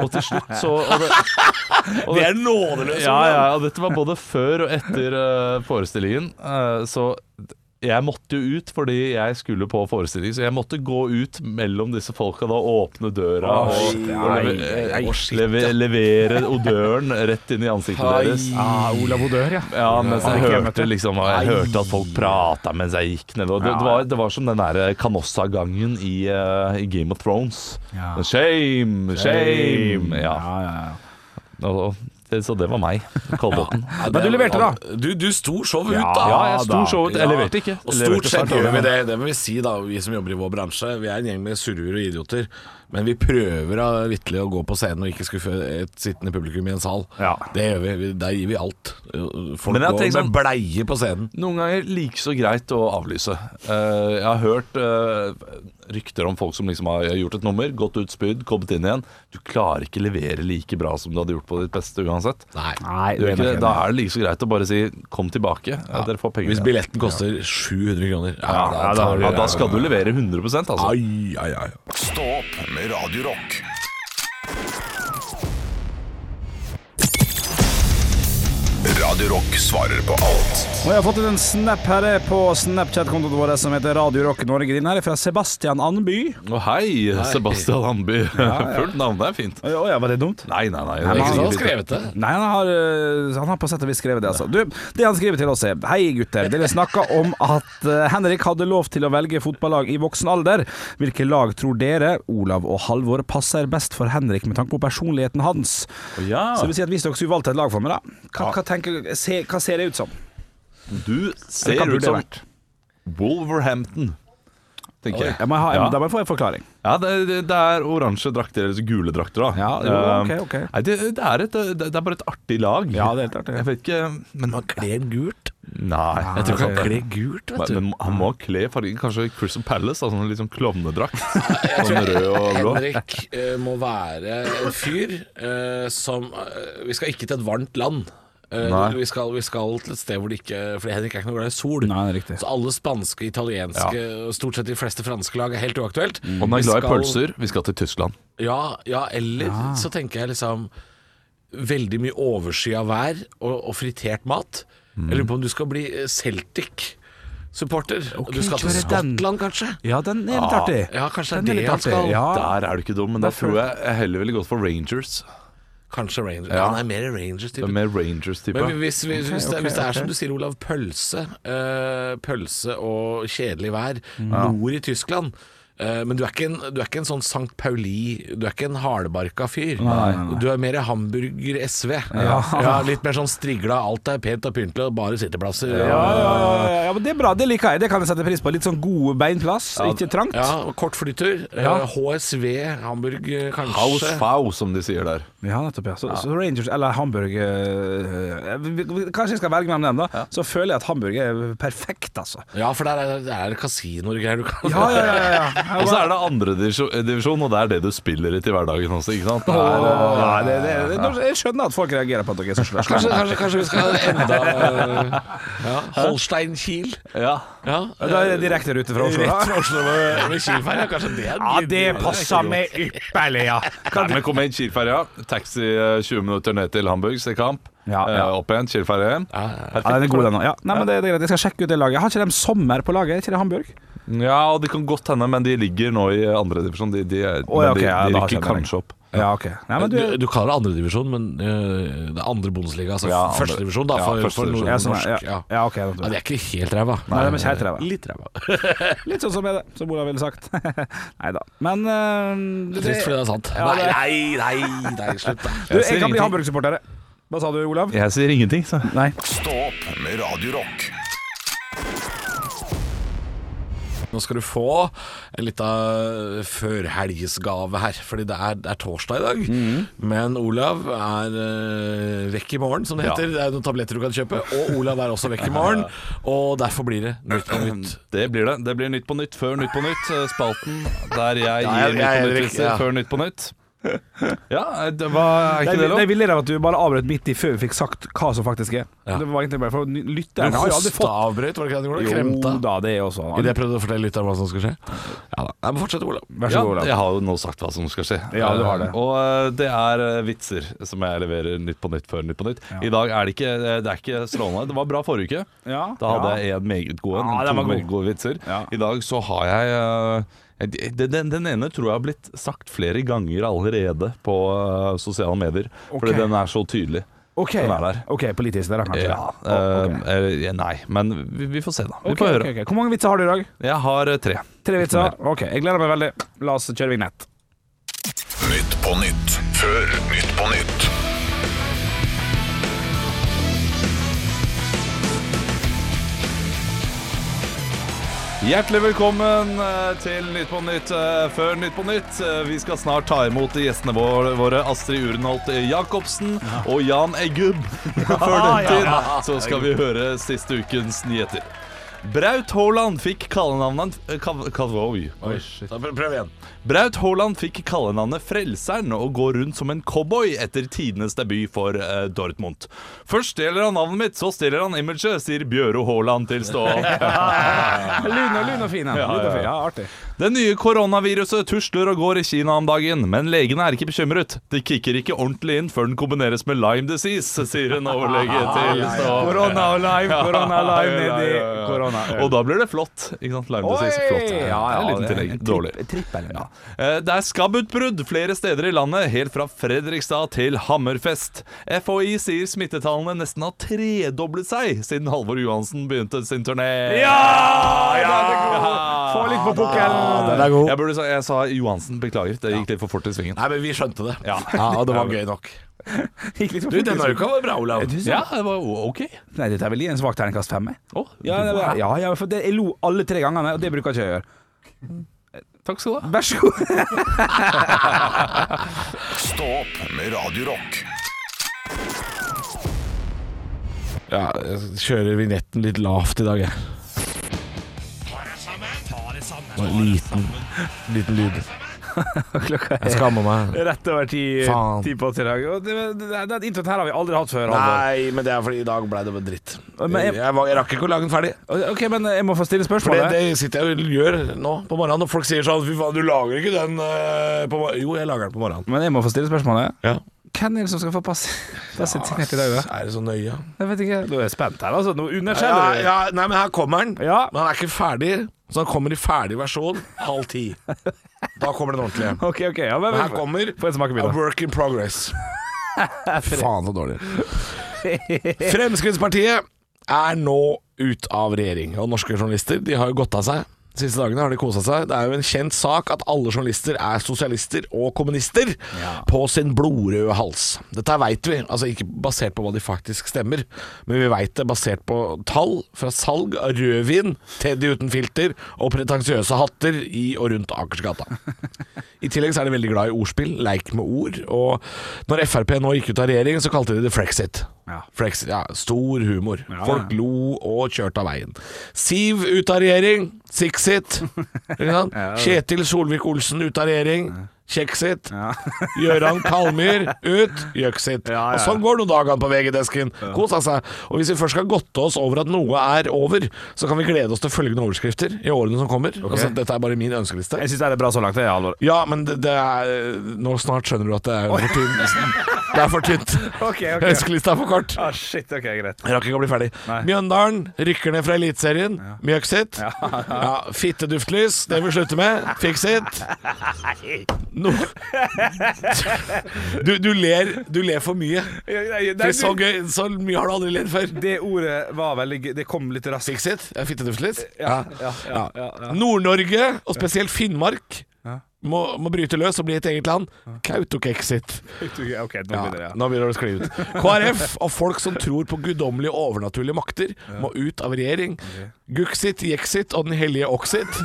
Speaker 2: Og til slutt så og det, og det,
Speaker 3: er nådeløst!
Speaker 2: ja, ja, og dette var både før og etter eh, forestillingen. eh, så d- jeg måtte jo ut fordi jeg skulle på forestilling, så jeg måtte gå ut mellom disse folka da, åpne døra
Speaker 3: Å,
Speaker 2: og,
Speaker 3: shit,
Speaker 2: og
Speaker 3: nei,
Speaker 2: leve-
Speaker 3: nei,
Speaker 2: og leve, levere odøren rett inn i ansiktet deres.
Speaker 1: Ah, Olav Odør, ja.
Speaker 2: Ja, mens jeg hørte liksom og Jeg hørte at folk prata mens jeg gikk nedover. Det, det, var, det var som den der eh, Canossa-gangen i, eh, i Game of Thrones. Shame, shame! Ja. Og- og- Så det var meg. Kolbotn.
Speaker 3: Men du leverte, da.
Speaker 1: Du, du sto showet
Speaker 3: Ja,
Speaker 1: ut, da.
Speaker 3: ja, jeg sto
Speaker 2: showet ut. Jeg leverte ikke.
Speaker 1: Og
Speaker 2: Jeg leverte
Speaker 1: stort sett
Speaker 2: svært dårlig.
Speaker 1: gjør vi det. Det vil vi si, da, vi som jobber i vår bransje. Vi er en gjeng med surruer og idioter, men vi prøver da vitterlig å gå på scenen og ikke skuffe et sittende publikum i en sal.
Speaker 3: Ja.
Speaker 1: Det gjør vi. vi. Der gir vi alt. Folk
Speaker 2: Men jeg
Speaker 1: går
Speaker 2: tenker sånn-
Speaker 1: med bleier på scenen.
Speaker 2: Noen ganger like så greit å avlyse. Eh, jeg har hørt eh, rykter om folk som liksom har gjort et nummer, gått ut spyd, kommet inn igjen. Du klarer ikke levere like bra som du hadde gjort på ditt beste uansett.
Speaker 1: Nei.
Speaker 3: Nei,
Speaker 2: Gjør
Speaker 3: det
Speaker 2: ikke
Speaker 3: er
Speaker 2: det? Da er det like så greit å bare si 'kom tilbake'. Ja. Dere får penger.
Speaker 1: Hvis
Speaker 2: igjen.
Speaker 1: billetten koster 700 kroner Ja,
Speaker 2: Ja, da, ja, da skal du levere 100 altså.
Speaker 1: Ai, ai, ai.
Speaker 5: Stå opp med Radio Rock. Radio Rock svarer på alt.
Speaker 3: Og jeg har fått en snap her på Snapchat-kontoen vår som heter Radio Rock Norge. Den her er fra Sebastian Andby.
Speaker 2: Å, hei, Sebastian Andby. Fullt navn, det er fint.
Speaker 3: Å ja, var det dumt?
Speaker 2: Nei, nei, nei.
Speaker 1: Det er ikke sånn
Speaker 3: men
Speaker 2: sikkert
Speaker 1: han har
Speaker 2: fint.
Speaker 1: skrevet det.
Speaker 3: Nei, han har, øh, han har på sett og vis skrevet det, altså. Du, det han skriver til oss er Hei, gutter. Dere snakka om at øh, Henrik hadde lov til å velge fotballag i voksen alder. Hvilke lag tror dere, Olav og Halvor, passer best for Henrik med tanke på personligheten hans? Så det vil si at hvis dere skulle valgt et lag for meg, da, hva, hva, tenker, se, hva ser det ut som?
Speaker 2: Du
Speaker 3: Eller hva
Speaker 2: ser
Speaker 3: burde
Speaker 2: ut
Speaker 3: det
Speaker 2: som
Speaker 3: vært?
Speaker 2: Wolverhampton, tenker jeg.
Speaker 3: Jeg må ha,
Speaker 2: Ja.
Speaker 3: Da må jeg få en forklaring.
Speaker 2: Ja, det, det- det er oransje drakter, eller så gule drakter, da.
Speaker 3: Ja, jo,
Speaker 2: Eh,
Speaker 3: ok, ok.
Speaker 2: Nei, det, det, er et, det er bare et artig lag.
Speaker 3: Ja, det er helt artig.
Speaker 2: Jeg vet ikke Men man Ah,
Speaker 1: Kler gult.
Speaker 2: Nei. Jeg tror
Speaker 1: Han kler gult, vet du.
Speaker 2: Men han må kle fargen Kanskje Crystal Palace, da, sånn liksom klovnedrakt. Sånn rød og blå.
Speaker 1: Henrik eh, må være en fyr eh, som eh, Vi skal ikke til et varmt land. Eh,
Speaker 2: Nei.
Speaker 1: vi, skal, vi skal til et sted hvor det ikke Fordi Henrik er ikke noe glad i sol.
Speaker 3: Nei, det er riktig.
Speaker 1: Så alle spanske, italienske og stort sett de fleste franske lag er helt uaktuelt.
Speaker 2: Og han er
Speaker 1: Vi
Speaker 2: glad i
Speaker 1: skal-
Speaker 2: pølser. Vi skal til Tyskland.
Speaker 1: Ja, ja eller så tenker jeg liksom Veldig mye overskya vær og, og fritert mat. Jeg lurer på om du skal bli eh, Celtic-supporter. du skal til
Speaker 3: kjøre den.
Speaker 1: Skottland, kanskje?
Speaker 3: Ja, den er litt artig.
Speaker 1: Ja, kanskje
Speaker 3: Den
Speaker 1: det
Speaker 3: er
Speaker 1: er
Speaker 3: litt
Speaker 1: det han
Speaker 3: artig,
Speaker 1: skal.
Speaker 3: ja.
Speaker 2: Der Ah, er du ikke dum, men da tror jeg jeg heller ville gått for Rangers.
Speaker 1: Kanskje Rangers.
Speaker 2: Ja.
Speaker 1: Han er mer
Speaker 2: Det
Speaker 1: Rangers-type.
Speaker 2: er mer Rangers-type.
Speaker 1: Men hvis, hvis, hvis, det, hvis det er som du sier, Olav, pølse eh, Pølse og kjedelig vær
Speaker 3: Mm.
Speaker 1: nord i Tyskland eh, Men du er, ikke en, du er ikke en sånn Sankt Pauli Du er ikke en hardbarka fyr. Du er mer Hamburger SV. Ja. litt mer sånn strigla, alt er pent og pyntelig, og bare sitteplasser.
Speaker 3: Ja, ja, ja, ja, men Det er bra, det liker jeg. Det kan jeg sette pris på. Litt sånn god beinplass, ikke trangt.
Speaker 1: Ja, og kort flytur. eh,
Speaker 3: Ja.
Speaker 1: HSV Hamburg, eh, kanskje.
Speaker 2: House Fow, som de sier der.
Speaker 3: Ja, nettopp. Ja. Så, så Rangers eller Hamburg eh, vi- vi- Kanskje jeg skal velge mellom dem, da. Så føler jeg at Hamburg er perfekt, altså.
Speaker 1: Ja, for der er, der er kasinoer og greier du kan
Speaker 3: Ja, ja, ja, ja.
Speaker 2: Og så er det andre divisjon- divisjon, og det er det du spiller i til hverdagen også, ikke sant? eh, Det er,
Speaker 3: Nei, det, det, det, jeg skjønner at folk reagerer på at dere er så svære.
Speaker 1: Kanskje, kanskje, kanskje vi skal enda eh, ja. Holstein-Kiel.
Speaker 2: ja.
Speaker 1: Ja,
Speaker 3: Da er det direkte rute fra Oslo.
Speaker 1: Rett
Speaker 3: Da.
Speaker 1: fra Oslo med, med Kiel-ferja, kanskje det er
Speaker 3: Ja, det passer meg ypperlig, ja.
Speaker 2: Nei, men kom igjen, Kielferja. Taxi eh, 20 minutter ned til Hamburg, se kamp.
Speaker 3: Ja,
Speaker 2: Eh,
Speaker 3: ja.
Speaker 2: Opp igjen, Kielferja igjen.
Speaker 3: Ja, den er god, den òg. Ja. Nei, men det, det er greit. Jeg skal sjekke ut det laget. Har ikke de sommer på laget? Er ikke det Hamburg?
Speaker 2: Ja, og det kan godt hende, men de ligger nå i andre divisjon. De, de,
Speaker 3: Å, ja,
Speaker 2: men
Speaker 3: ok,
Speaker 2: de,
Speaker 3: ja,
Speaker 2: de
Speaker 3: da
Speaker 2: rykker
Speaker 3: skjønner jeg.
Speaker 2: kanskje opp.
Speaker 3: Ja, ok. Nei, men
Speaker 1: Du,
Speaker 3: du,
Speaker 1: du kaller det andredivisjon, men eh, det er andre Bundesliga, altså
Speaker 2: Ja, andre-
Speaker 1: førstedivisjon, da,
Speaker 2: ja,
Speaker 1: for,
Speaker 2: første
Speaker 1: for
Speaker 2: divisjon.
Speaker 3: ja, sånn,
Speaker 1: nordnorsk.
Speaker 3: ja.
Speaker 1: Ja, ja.
Speaker 3: ja, ok. nettopp.
Speaker 1: det er ikke helt ræva.
Speaker 3: Nei, de er ikke helt ræva.
Speaker 1: Litt ræva.
Speaker 3: Litt sånn som er det, som Olav ville sagt. Nei da. Men eh, det,
Speaker 1: Trist fordi det er sant.
Speaker 3: Ja, det-
Speaker 1: Nei, nei, nei, nei, slutt, da.
Speaker 3: du,
Speaker 2: ser
Speaker 3: jeg kan bli
Speaker 2: ingenting.
Speaker 3: Hamburg-supporter. Hva sa du, Olav?
Speaker 2: Jeg sier ingenting, så.
Speaker 3: Nei.
Speaker 5: Stå opp med Radio Rock.
Speaker 1: Nå skal du få en liten førhelgsgave her, fordi det er, det er torsdag i dag.
Speaker 3: Mhm.
Speaker 1: Men Olav er eh, vekk i morgen, som det heter. Det er noen tabletter du kan kjøpe. Og Olav er også vekk i morgen, og derfor blir det Nytt på nytt.
Speaker 2: Det blir det. Det blir Nytt på Nytt før Nytt på Nytt. eh, Spalten der jeg
Speaker 1: Ja, jeg-
Speaker 2: gir
Speaker 1: jeg-
Speaker 2: Nytt på
Speaker 1: jeg-
Speaker 2: Nytt-vitser
Speaker 1: ja.
Speaker 2: før Nytt på Nytt. Ja, eh, det var, er
Speaker 3: Det
Speaker 2: ikke det
Speaker 3: er, det er
Speaker 2: lov?
Speaker 3: villere av at du bare avbrøt midt i før vi fikk sagt hva som faktisk er.
Speaker 1: Ja.
Speaker 3: Det var egentlig bare for lytteren
Speaker 1: Du
Speaker 3: har jo aldri fått
Speaker 1: hosteavbrøt, var det ikke det du gjorde?
Speaker 3: Jo
Speaker 1: Kremta.
Speaker 3: da, det er også
Speaker 1: Idet jeg prøvde å fortelle lytteren hva som skulle skje. Ja da. Nei, men fortsett, Olav.
Speaker 3: Vær så
Speaker 2: Ja,
Speaker 3: god, Olav.
Speaker 2: jeg har jo nå sagt hva som skal skje.
Speaker 3: Ja, du har det.
Speaker 2: Eh, Og eh, det er eh, vitser som jeg leverer Nytt på Nytt før Nytt på Nytt. I dag er det ikke, eh, det er ikke strålende. Det var bra forrige uke.
Speaker 3: Ja.
Speaker 2: Da hadde
Speaker 3: Ja.
Speaker 2: jeg en meget god en.
Speaker 3: Ja, den
Speaker 2: to
Speaker 3: var god.
Speaker 2: meget gode vitser.
Speaker 3: Ja.
Speaker 2: I dag så har jeg eh, den, den, den ene tror jeg har blitt sagt flere ganger allerede på eh, sosiale medier.
Speaker 3: Ok.
Speaker 2: Fordi den er så tydelig.
Speaker 3: Ok,
Speaker 2: Den er der.
Speaker 3: Ok, politisk der, da, kanskje.
Speaker 2: Ja,
Speaker 3: Å, ok.
Speaker 2: eh, eh, Nei, men vi, vi får se, da. Vi
Speaker 3: Ok,
Speaker 2: får høre.
Speaker 3: ok, ok. Hvor mange vitser har du i dag?
Speaker 2: Jeg har eh, tre.
Speaker 3: Tre
Speaker 2: Ikke
Speaker 3: vitser? Ok, jeg gleder meg veldig. La oss kjøre vignett.
Speaker 5: Nytt på nytt før Nytt på nytt.
Speaker 2: Hjertelig velkommen eh, til Nytt på Nytt eh, før Nytt på Nytt. Eh, Vi skal snart ta imot gjestene våre, våre Astrid Urenholt Jacobsen og Jan Eggum. Før den tid så skal vi høre siste ukens nyheter. Braut Haaland fikk kallenavnet eh, kall, kall, oi.
Speaker 1: Da prøv prøv igjen.
Speaker 2: Braut Haaland fikk kallenavnet Frelseren og går rundt som en cowboy etter tidenes debut for eh, Dortmund. Først stjeler han navnet mitt, så stjeler han imaget, sier Bjøro Haaland til stål. Ah.
Speaker 3: Lun og lun og fin, ja. Lun og fin. ja artig.
Speaker 2: Det nye koronaviruset tusler og går i Kina om dagen, men legene er ikke bekymret. Det kicker ikke ordentlig inn før den kombineres med Lyme disease, sier en overlege
Speaker 3: Ah,
Speaker 2: til Stavanger.
Speaker 3: Korona og live, korona og live
Speaker 2: Ja, ja, ja,
Speaker 3: nedi
Speaker 2: ja, ja.
Speaker 3: korona.
Speaker 2: Og da blir det flott. Ikke sant? Lyme disease,
Speaker 3: Oi!
Speaker 2: flott.
Speaker 3: Ja, ja,
Speaker 2: en liten
Speaker 3: det er
Speaker 2: tillegg.
Speaker 3: en
Speaker 2: Dårlig. Ja. Eh, Det er skabbutbrudd flere steder i landet, helt fra Fredrikstad til Hammerfest. FHI sier smittetallene nesten har tredoblet seg siden Halvor Johansen begynte sin turné.
Speaker 3: Få litt på
Speaker 1: Ja,
Speaker 3: pukkelen!
Speaker 1: den er god.
Speaker 2: Jeg, burde, sa- jeg sa Johansen, beklager. Det gikk litt for fort i svingen.
Speaker 1: Nei, men vi skjønte det.
Speaker 2: Ja.
Speaker 1: og det var gøy nok.
Speaker 3: Gikk litt for
Speaker 1: Du,
Speaker 3: fort,
Speaker 1: denne
Speaker 3: liksom.
Speaker 1: uka var bra, Olav.
Speaker 3: Du, så-
Speaker 2: Ja, det var o- ok.
Speaker 3: Nei, dette er vel i en svak terningkast fem. jeg.
Speaker 2: Å,
Speaker 3: Ja, det var, ja, ja for det, jeg lo alle tre gangene, og det bruker ikke jeg å gjøre.
Speaker 2: takk skal du ha.
Speaker 3: Vær så god.
Speaker 5: Stå opp med Radio Rock.
Speaker 1: Ja, jeg kjører vignetten litt lavt i dag, jeg. Ta det sammen. Liten, liten lyd.
Speaker 3: Klokka
Speaker 1: Jeg skammer meg.
Speaker 3: rett over ti,
Speaker 1: Faen.
Speaker 3: ti på til i dag. Og det- det- Den introen her har vi aldri hatt før. Halvor.
Speaker 1: Nei, men det er fordi i dag blei det bare dritt.
Speaker 3: Men
Speaker 1: Jeg,
Speaker 3: jeg-
Speaker 1: var- jeg rakk ikke å lage den ferdig.
Speaker 3: Ok, men jeg må få stille
Speaker 1: For det,
Speaker 3: spørsmålet.
Speaker 1: det sitter jeg og gjør nå på morgenen, og folk sier sånn Fy faen, du lager ikke den eh, på morgenen. Jo, jeg lager den på morgenen.
Speaker 3: Men jeg må få stille spørsmålet.
Speaker 1: Ja.
Speaker 3: Hvem er det som skal få pass? passet sitt knekt i dag? da?
Speaker 1: Ah, Er det så nøye?
Speaker 3: Jeg vet ikke. Nå er jeg spent her, altså. Nå
Speaker 1: Ja,
Speaker 3: underkjenner du.
Speaker 1: ja, nei, men her kommer den.
Speaker 3: Ja.
Speaker 1: Men han er ikke ferdig, så han kommer i ferdig versjon halv ti. Da kommer den ordentlige.
Speaker 3: Ok, ok. Ja, men,
Speaker 1: Men her kommer
Speaker 3: Få en smakebit,
Speaker 1: A
Speaker 3: da.
Speaker 1: work in progress. Faen så dårlig. Fremskrittspartiet er nå ut av regjering. Og norske journalister de har jo gått av seg. De siste dagene har de kosa seg. Det er jo en kjent sak at alle journalister er sosialister og kommunister på sin blodrøde hals. Dette veit vi, altså ikke basert på hva de faktisk stemmer, men vi veit det basert på tall fra salg av rødvin, Teddy uten filter og pretensiøse hatter i og rundt Akersgata. I tillegg så er de veldig glad i ordspill, leik med ord. Og når Frp nå gikk ut av regjering, så kalte de det Frexit.
Speaker 3: Ja.
Speaker 1: Frexit ja, stor humor. Folk lo og kjørte av veien. Siv ut av regjering, Sixit. Ikke sant? Kjetil Solvik-Olsen ut av regjering. Kjeksit. Gøran Kalmyr ut. Jøksit.
Speaker 3: Ja, ja, ja.
Speaker 1: Og sånn går det noen dager på VG-desken. Kosa seg. Og hvis vi først skal godte oss over at noe er over, så kan vi glede oss til følgende overskrifter i årene som kommer. Altså, dette er bare min ønskeliste.
Speaker 3: Jeg syns det er bra så langt, det, Halvor.
Speaker 1: Ja, men det, det er Nå snart skjønner du at det er for tynt. Det er for tynt.
Speaker 3: Ok, ok.
Speaker 1: Ønskelista er for kort.
Speaker 3: Ah, shit, ok, greit.
Speaker 1: Jeg rakk ikke å bli ferdig. Mjøndalen rykker ned fra Eliteserien. Mjøksit. Ja. fitteduftlys, det vil vi slutte med. Fixit. No. Du, du, ler, du ler for mye. For så, gøy, så mye har du aldri ledd før.
Speaker 3: det ordet var veldig gøy. Det kom litt raskt.
Speaker 1: Fixit? Ja, fitteduftlys?
Speaker 3: Ja, ja, ja, ja, ja.
Speaker 1: Nord-Norge, og spesielt Finnmark, må, må bryte løs og bli et eget land. Kautokeino-exit.
Speaker 3: Ok, nå
Speaker 1: Ja,
Speaker 3: begynner jeg.
Speaker 1: nå begynner det å skli ut. KrF og folk som tror på guddommelige overnaturlige makter, må ut av regjering. Guksit, Jeksit og Den hellige oksit.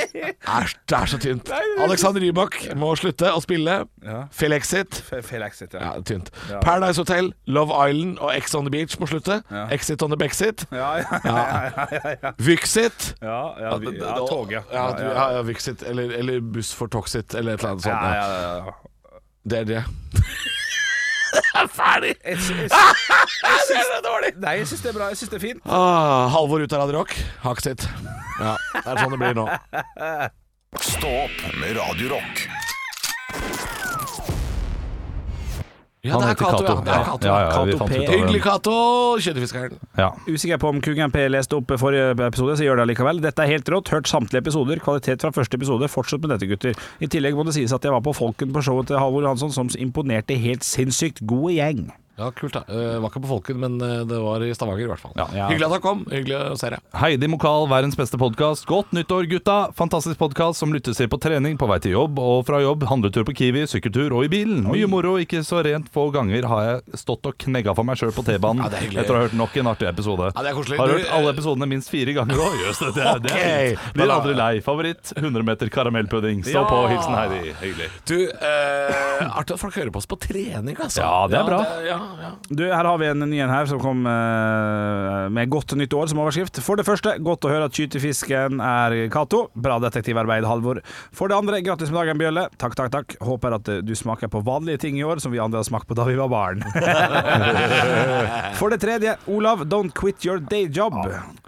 Speaker 1: Æsj, det er så tynt. Alexander Rybak må slutte å spille.
Speaker 3: Ja.
Speaker 1: Felexit.
Speaker 3: Fe- Feil exit, ja.
Speaker 1: Ja, tynt. Paradise Hotel, Love Island og Ex on the Beach må slutte. Exit on the Bexit.
Speaker 3: Ja, ja, ja, ja, ja.
Speaker 1: Vyxit.
Speaker 3: Ja, ja, vi- ja, tog, ja.
Speaker 1: Ja,
Speaker 3: Ja,
Speaker 1: du-
Speaker 3: ja,
Speaker 1: ja, ja, Vyxit, eller, eller Buss for Toxit, eller et eller annet sånt.
Speaker 3: ja,
Speaker 1: Ja.
Speaker 3: ja, ja.
Speaker 1: Det er det. Jeg er ferdig!
Speaker 3: Jeg sy- jeg
Speaker 1: Det er dårlig!
Speaker 3: sy- Nei, jeg syns det er bra. Jeg syns det er fint.
Speaker 1: Ah, Halvor ut av Radio Rock. Hakk sitt. Ja, det er sånn det blir nå.
Speaker 5: Stå opp med Radio Rock.
Speaker 1: Ja, det er Cato. Ja. Det er Cato.
Speaker 2: Ja, ja, vi
Speaker 3: Cato
Speaker 2: fant
Speaker 3: P.
Speaker 2: ut av
Speaker 1: Hyggelig,
Speaker 2: det.
Speaker 1: Cato. Kjøttfiskeren.
Speaker 2: Ja.
Speaker 3: Usikker på om Kugan P leste opp forrige episode, så gjør det likevel. Dette er helt rått. Hørt samtlige episoder. Kvalitet fra første episode. Fortsett med dette, gutter. I tillegg må det sies at jeg var på Folken på showet til Halvor Hansson, som imponerte helt sinnssykt. God gjeng.
Speaker 1: Ja, kult da. Eh, var ikke på Folken, men eh, det var i Stavanger i hvert fall.
Speaker 3: Ja.
Speaker 1: Hyggelig at han kom. Hyggelig å se deg.
Speaker 2: Heidi Mokal, verdens beste podkast. Godt nyttår, gutta! Fantastisk podkast som lyttes til på trening, på vei til jobb og fra jobb, handletur på Kiwi, sykkeltur og i bilen. Mye moro, ikke så rent få ganger har jeg stått og knegga for meg sjøl på T-banen
Speaker 1: Ja, det er hyggelig.
Speaker 2: etter å ha hørt nok en artig episode.
Speaker 1: Ja, det er koselig.
Speaker 2: Har
Speaker 1: Du, eh,
Speaker 2: hørt alle episodene minst fire ganger òg. Jøss, det, er- det
Speaker 1: Ok.
Speaker 2: er fint. Blir aldri lei. Favoritt 100 meter karamellpudding. Stå på. Hilsen Heidi. Hyggelig.
Speaker 1: Du, eh, artig at folk hører på oss på trening, altså.
Speaker 2: Ja, det er bra.
Speaker 1: ja, ja.
Speaker 3: Du, her har vi en ny en her som kom eh, med godt nytt år som overskrift. For det første, godt å høre at skytefisken er Cato. Bra detektivarbeid, Halvor. For det andre, grattis med dagen, Bjølle. Takk, takk, takk. Håper at eh, du smaker på vanlige ting i år som vi andre har smakt på da vi var barn. for det tredje, Olav, don't quit your day job.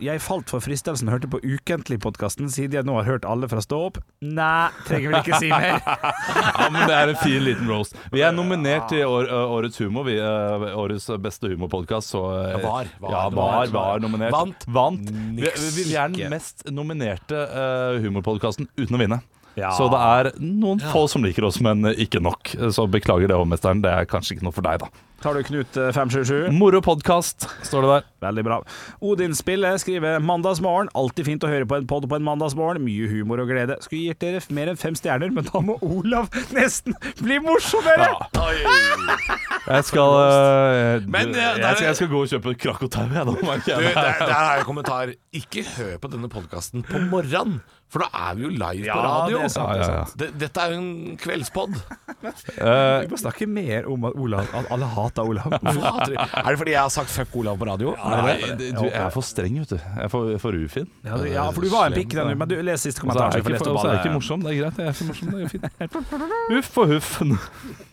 Speaker 3: Jeg falt for fristelsen og hørte på Ukentlig-podkasten siden jeg nå har hørt alle fra Stå opp. Nei, trenger vel ikke si mer.
Speaker 2: Ja, men Det er en fin liten roast. Vi er nominert til år, ø, Årets humor. Vi, ø, årets beste humorpodkast. Så ø,
Speaker 1: Ja, var, var,
Speaker 2: ja,
Speaker 1: var,
Speaker 2: var, var nominert.
Speaker 1: Vant.
Speaker 2: Vi, vi vi er den mest nominerte uh, humorpodkasten uten å vinne.
Speaker 3: Ja.
Speaker 2: Så det er noen få som liker oss, men ikke nok. Så beklager det, hovmesteren. Det er kanskje ikke noe for deg, da.
Speaker 3: Tar du Knut eh, 577?
Speaker 2: Moro podkast, står det der.
Speaker 3: Veldig bra. Odin Spille skriver mandagsmorgen. Alltid fint å høre på en pod på en mandagsmorgen. Mye humor og glede. Skulle gitt dere mer enn fem stjerner, men da må Olav nesten bli morsommere!
Speaker 2: Jeg skal, ø,
Speaker 1: Men, ø,
Speaker 2: du,
Speaker 1: der
Speaker 2: jeg, skal,
Speaker 1: er-
Speaker 2: jeg skal gå og kjøpe krakotau, jeg, nå. merker
Speaker 1: Du,
Speaker 2: jeg.
Speaker 1: der, der har jeg en kommentar. Ikke hør på denne podkasten på morgenen, for da er vi jo live på radio.
Speaker 3: det er sant,
Speaker 2: Ja, ja, ja.
Speaker 1: Det- Dette er jo en kveldspod.
Speaker 2: Eh,
Speaker 3: Vi må snakke mer om at Olav At alle hater Olav.
Speaker 1: Hvorfor hater de- Er det fordi jeg har sagt fuck Olav på radio? Er det det?
Speaker 2: Nei, du, jeg er for streng, vet du. Jeg er for, for ufin.
Speaker 3: Ja, du- ja, for du var en pikk den uken, men du les siste
Speaker 2: Så
Speaker 3: kommentar.
Speaker 2: er
Speaker 3: så
Speaker 2: jeg
Speaker 3: jeg får
Speaker 2: ikke,
Speaker 3: lest
Speaker 2: for,
Speaker 3: opp
Speaker 2: så er jeg
Speaker 3: alle.
Speaker 2: ikke morsom, det er greit. Jeg er ikke morsom, det er fint. Huff og huff.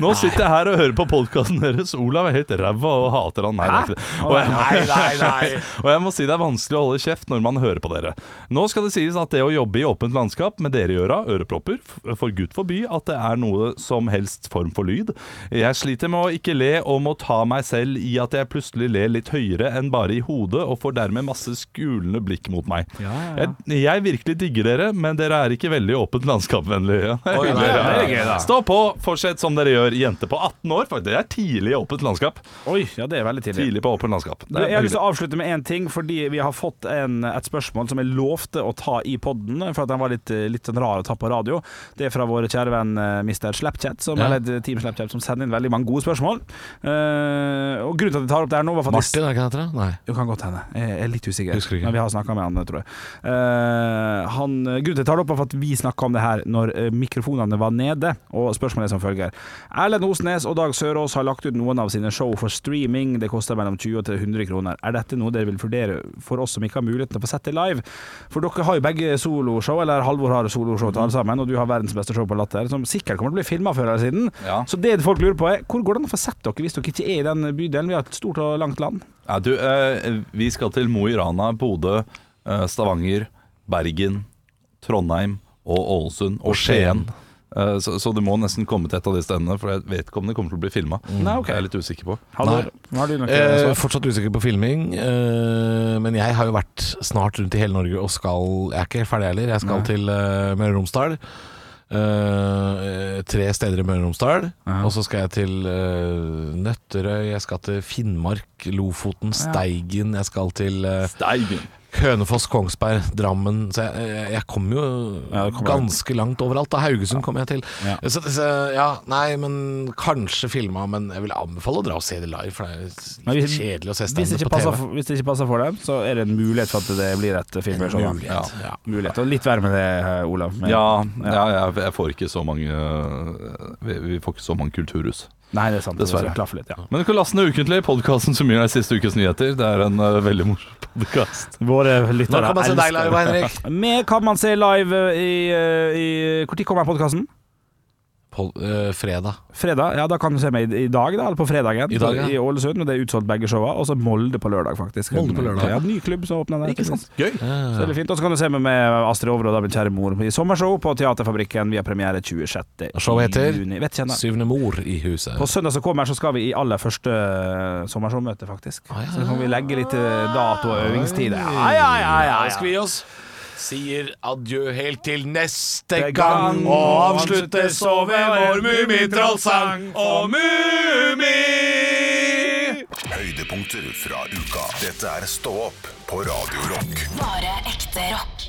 Speaker 2: Nå sitter jeg her og hører på podkasten deres. Olav er helt ræva og hater han. Nei, det er ikke det. Og jeg,
Speaker 1: Nei, nei, nei.
Speaker 2: og jeg må si det er vanskelig å holde kjeft når man hører på dere. Nå skal det sies at det å jobbe i åpent landskap med dere i øra, ørepropper, f- for gud forby at det er noe som helst form for lyd. Jeg sliter med å ikke le og må ta meg selv i at jeg plutselig ler litt høyere enn bare i hodet, og får dermed masse skulende blikk mot meg. Jeg, jeg virkelig digger dere, men dere er ikke veldig åpent landskapvennlige.
Speaker 1: Oi, nei,
Speaker 3: det er gøy, da.
Speaker 2: Stå på, fortsett som dere gjør. Jente på 18 år, for det er tidlig i åpent landskap.
Speaker 3: Oi, ja, det er veldig tidlig.
Speaker 2: Tidlig på åpent landskap. Det
Speaker 3: Du,
Speaker 2: er
Speaker 3: jeg har lyst til å avslutte med én ting, fordi vi har fått en, et spørsmål som jeg lovte å ta i podden, for at den var litt, litt sånn rar å ta på radio. Det er fra vår kjære venn eh, Mr. Slapchat, som, eller Team Slapchat, som sender inn veldig mange gode spørsmål. Eh, og Grunnen til at jeg tar opp det her nå, var for at jeg-
Speaker 1: Martin, er det ikke det han heter? Nei.
Speaker 3: det kan godt hende. Jeg er litt usikker.
Speaker 1: Husker ikke.
Speaker 3: Men vi har snakka med han, tror jeg. Eh, han, grunnen til at jeg tar det opp, er for at vi snakka om det her når eh, mikrofonene var nede. Og spørsmålet er som følger. Erlend Osnes og Dag Sørås har lagt ut noen av sine show for streaming. Det koster mellom 20 og til 100 kroner. Er dette noe dere vil vurdere for oss som ikke har muligheten til å få sett det live? For dere har jo begge soloshow, eller Halvor har soloshow til alle sammen, og du har verdens beste show på Latter, som sikkert kommer til å bli filma før eller siden.
Speaker 2: Ja.
Speaker 3: Så det folk lurer på er, hvor går det an å få sett dere hvis dere ikke er i den bydelen? Vi har et stort og langt land.
Speaker 2: Ja, du, eh, vi skal til Mo i Rana, Bodø, eh, Stavanger, Bergen, Trondheim og Ålesund og Skien. Eh, så, så du må nesten komme til et av de stedene, for jeg vet ikke om det kommer til å bli filma.
Speaker 3: Nei, ok.
Speaker 2: Jeg er litt usikker på.
Speaker 3: Halvor, har du noe svar?
Speaker 1: Eh, fortsatt usikker på filming, eh, men jeg har jo vært snart rundt i hele Norge og skal Jeg er ikke helt ferdig heller. Jeg skal til eh, Møre og Romsdal. Eh, tre steder i Møre og Romsdal. Og så skal jeg til eh, Nøtterøy, jeg skal til Finnmark, Lofoten, Steigen. Jeg skal til eh,
Speaker 2: Steigen!
Speaker 1: Hønefoss, Kongsberg, Drammen Så jeg, jeg- jeg kom jo
Speaker 3: Ja, du kommer
Speaker 1: ganske langt overalt. Da Haugesund kom jeg til.
Speaker 3: Ja.
Speaker 1: Så, så ja, nei, men kanskje filma, men jeg vil anbefale å dra og se det live, for det er
Speaker 3: Men
Speaker 1: litt kjedelig å se
Speaker 3: hvis det,
Speaker 1: standup
Speaker 3: ikke
Speaker 1: på
Speaker 3: passer,
Speaker 1: TV.
Speaker 3: for- hvis det ikke passer for dem, så er det en mulighet for at det blir et film. eller sånn.
Speaker 1: Mulighet, ja.
Speaker 3: Mulighet. Og litt verre med det, eh, Olav. Men-
Speaker 2: Ja, ja jeg, jeg får ikke så mange øh, vi, vi får ikke så mange kulturhus.
Speaker 3: Nei, det er sant.
Speaker 2: Dessverre.
Speaker 3: Det er klaffer litt, ja.
Speaker 2: Men du kan laste ned ukentlig podkasten som gir deg siste ukes nyheter. Det er en øh, veldig morsom podkast.
Speaker 3: Våre lyttere
Speaker 1: Når kan man se deg
Speaker 3: elsker det.
Speaker 1: live, Henrik?
Speaker 3: Vi kan man se live eh, i, eh, i Når kommer podkasten?
Speaker 1: På eh, fredag.
Speaker 3: Fredag? Ja, da kan du se meg i i dag, da. Eller på fredagen.
Speaker 1: I dag, ja.
Speaker 3: I Ålesund. Og det er utsolgt begge showa. Og så Molde på lørdag, faktisk.
Speaker 1: Molde på lørdag.
Speaker 3: Ja, ny klubb som åpner der.
Speaker 2: Ikke sant? Gøy.
Speaker 3: Så det blir fint. Og så kan du se meg med Astrid Over og da min kjære mor i sommershow på Teaterfabrikken. Vi har premiere 26.
Speaker 1: Showet heter
Speaker 3: juni. Vet ikke ennå.
Speaker 1: Syvende mor i huset.
Speaker 3: På søndag som kommer så skal vi i aller første eh, sommershowmøte, faktisk. Så da kan vi legge litt eh, dato og øvingstid. Ja, ja, ja, ja,
Speaker 1: Da
Speaker 3: ja.
Speaker 1: Mm. skal vi gi oss. Sier adjø helt til neste
Speaker 3: Neste
Speaker 1: gang.
Speaker 3: gang.
Speaker 1: Og avsluttes så ved vår Mummitrollsang. Og Mummi!
Speaker 5: Høydepunkter fra uka. Dette er Stå opp på Radio Rock.
Speaker 7: Bare ekte rock.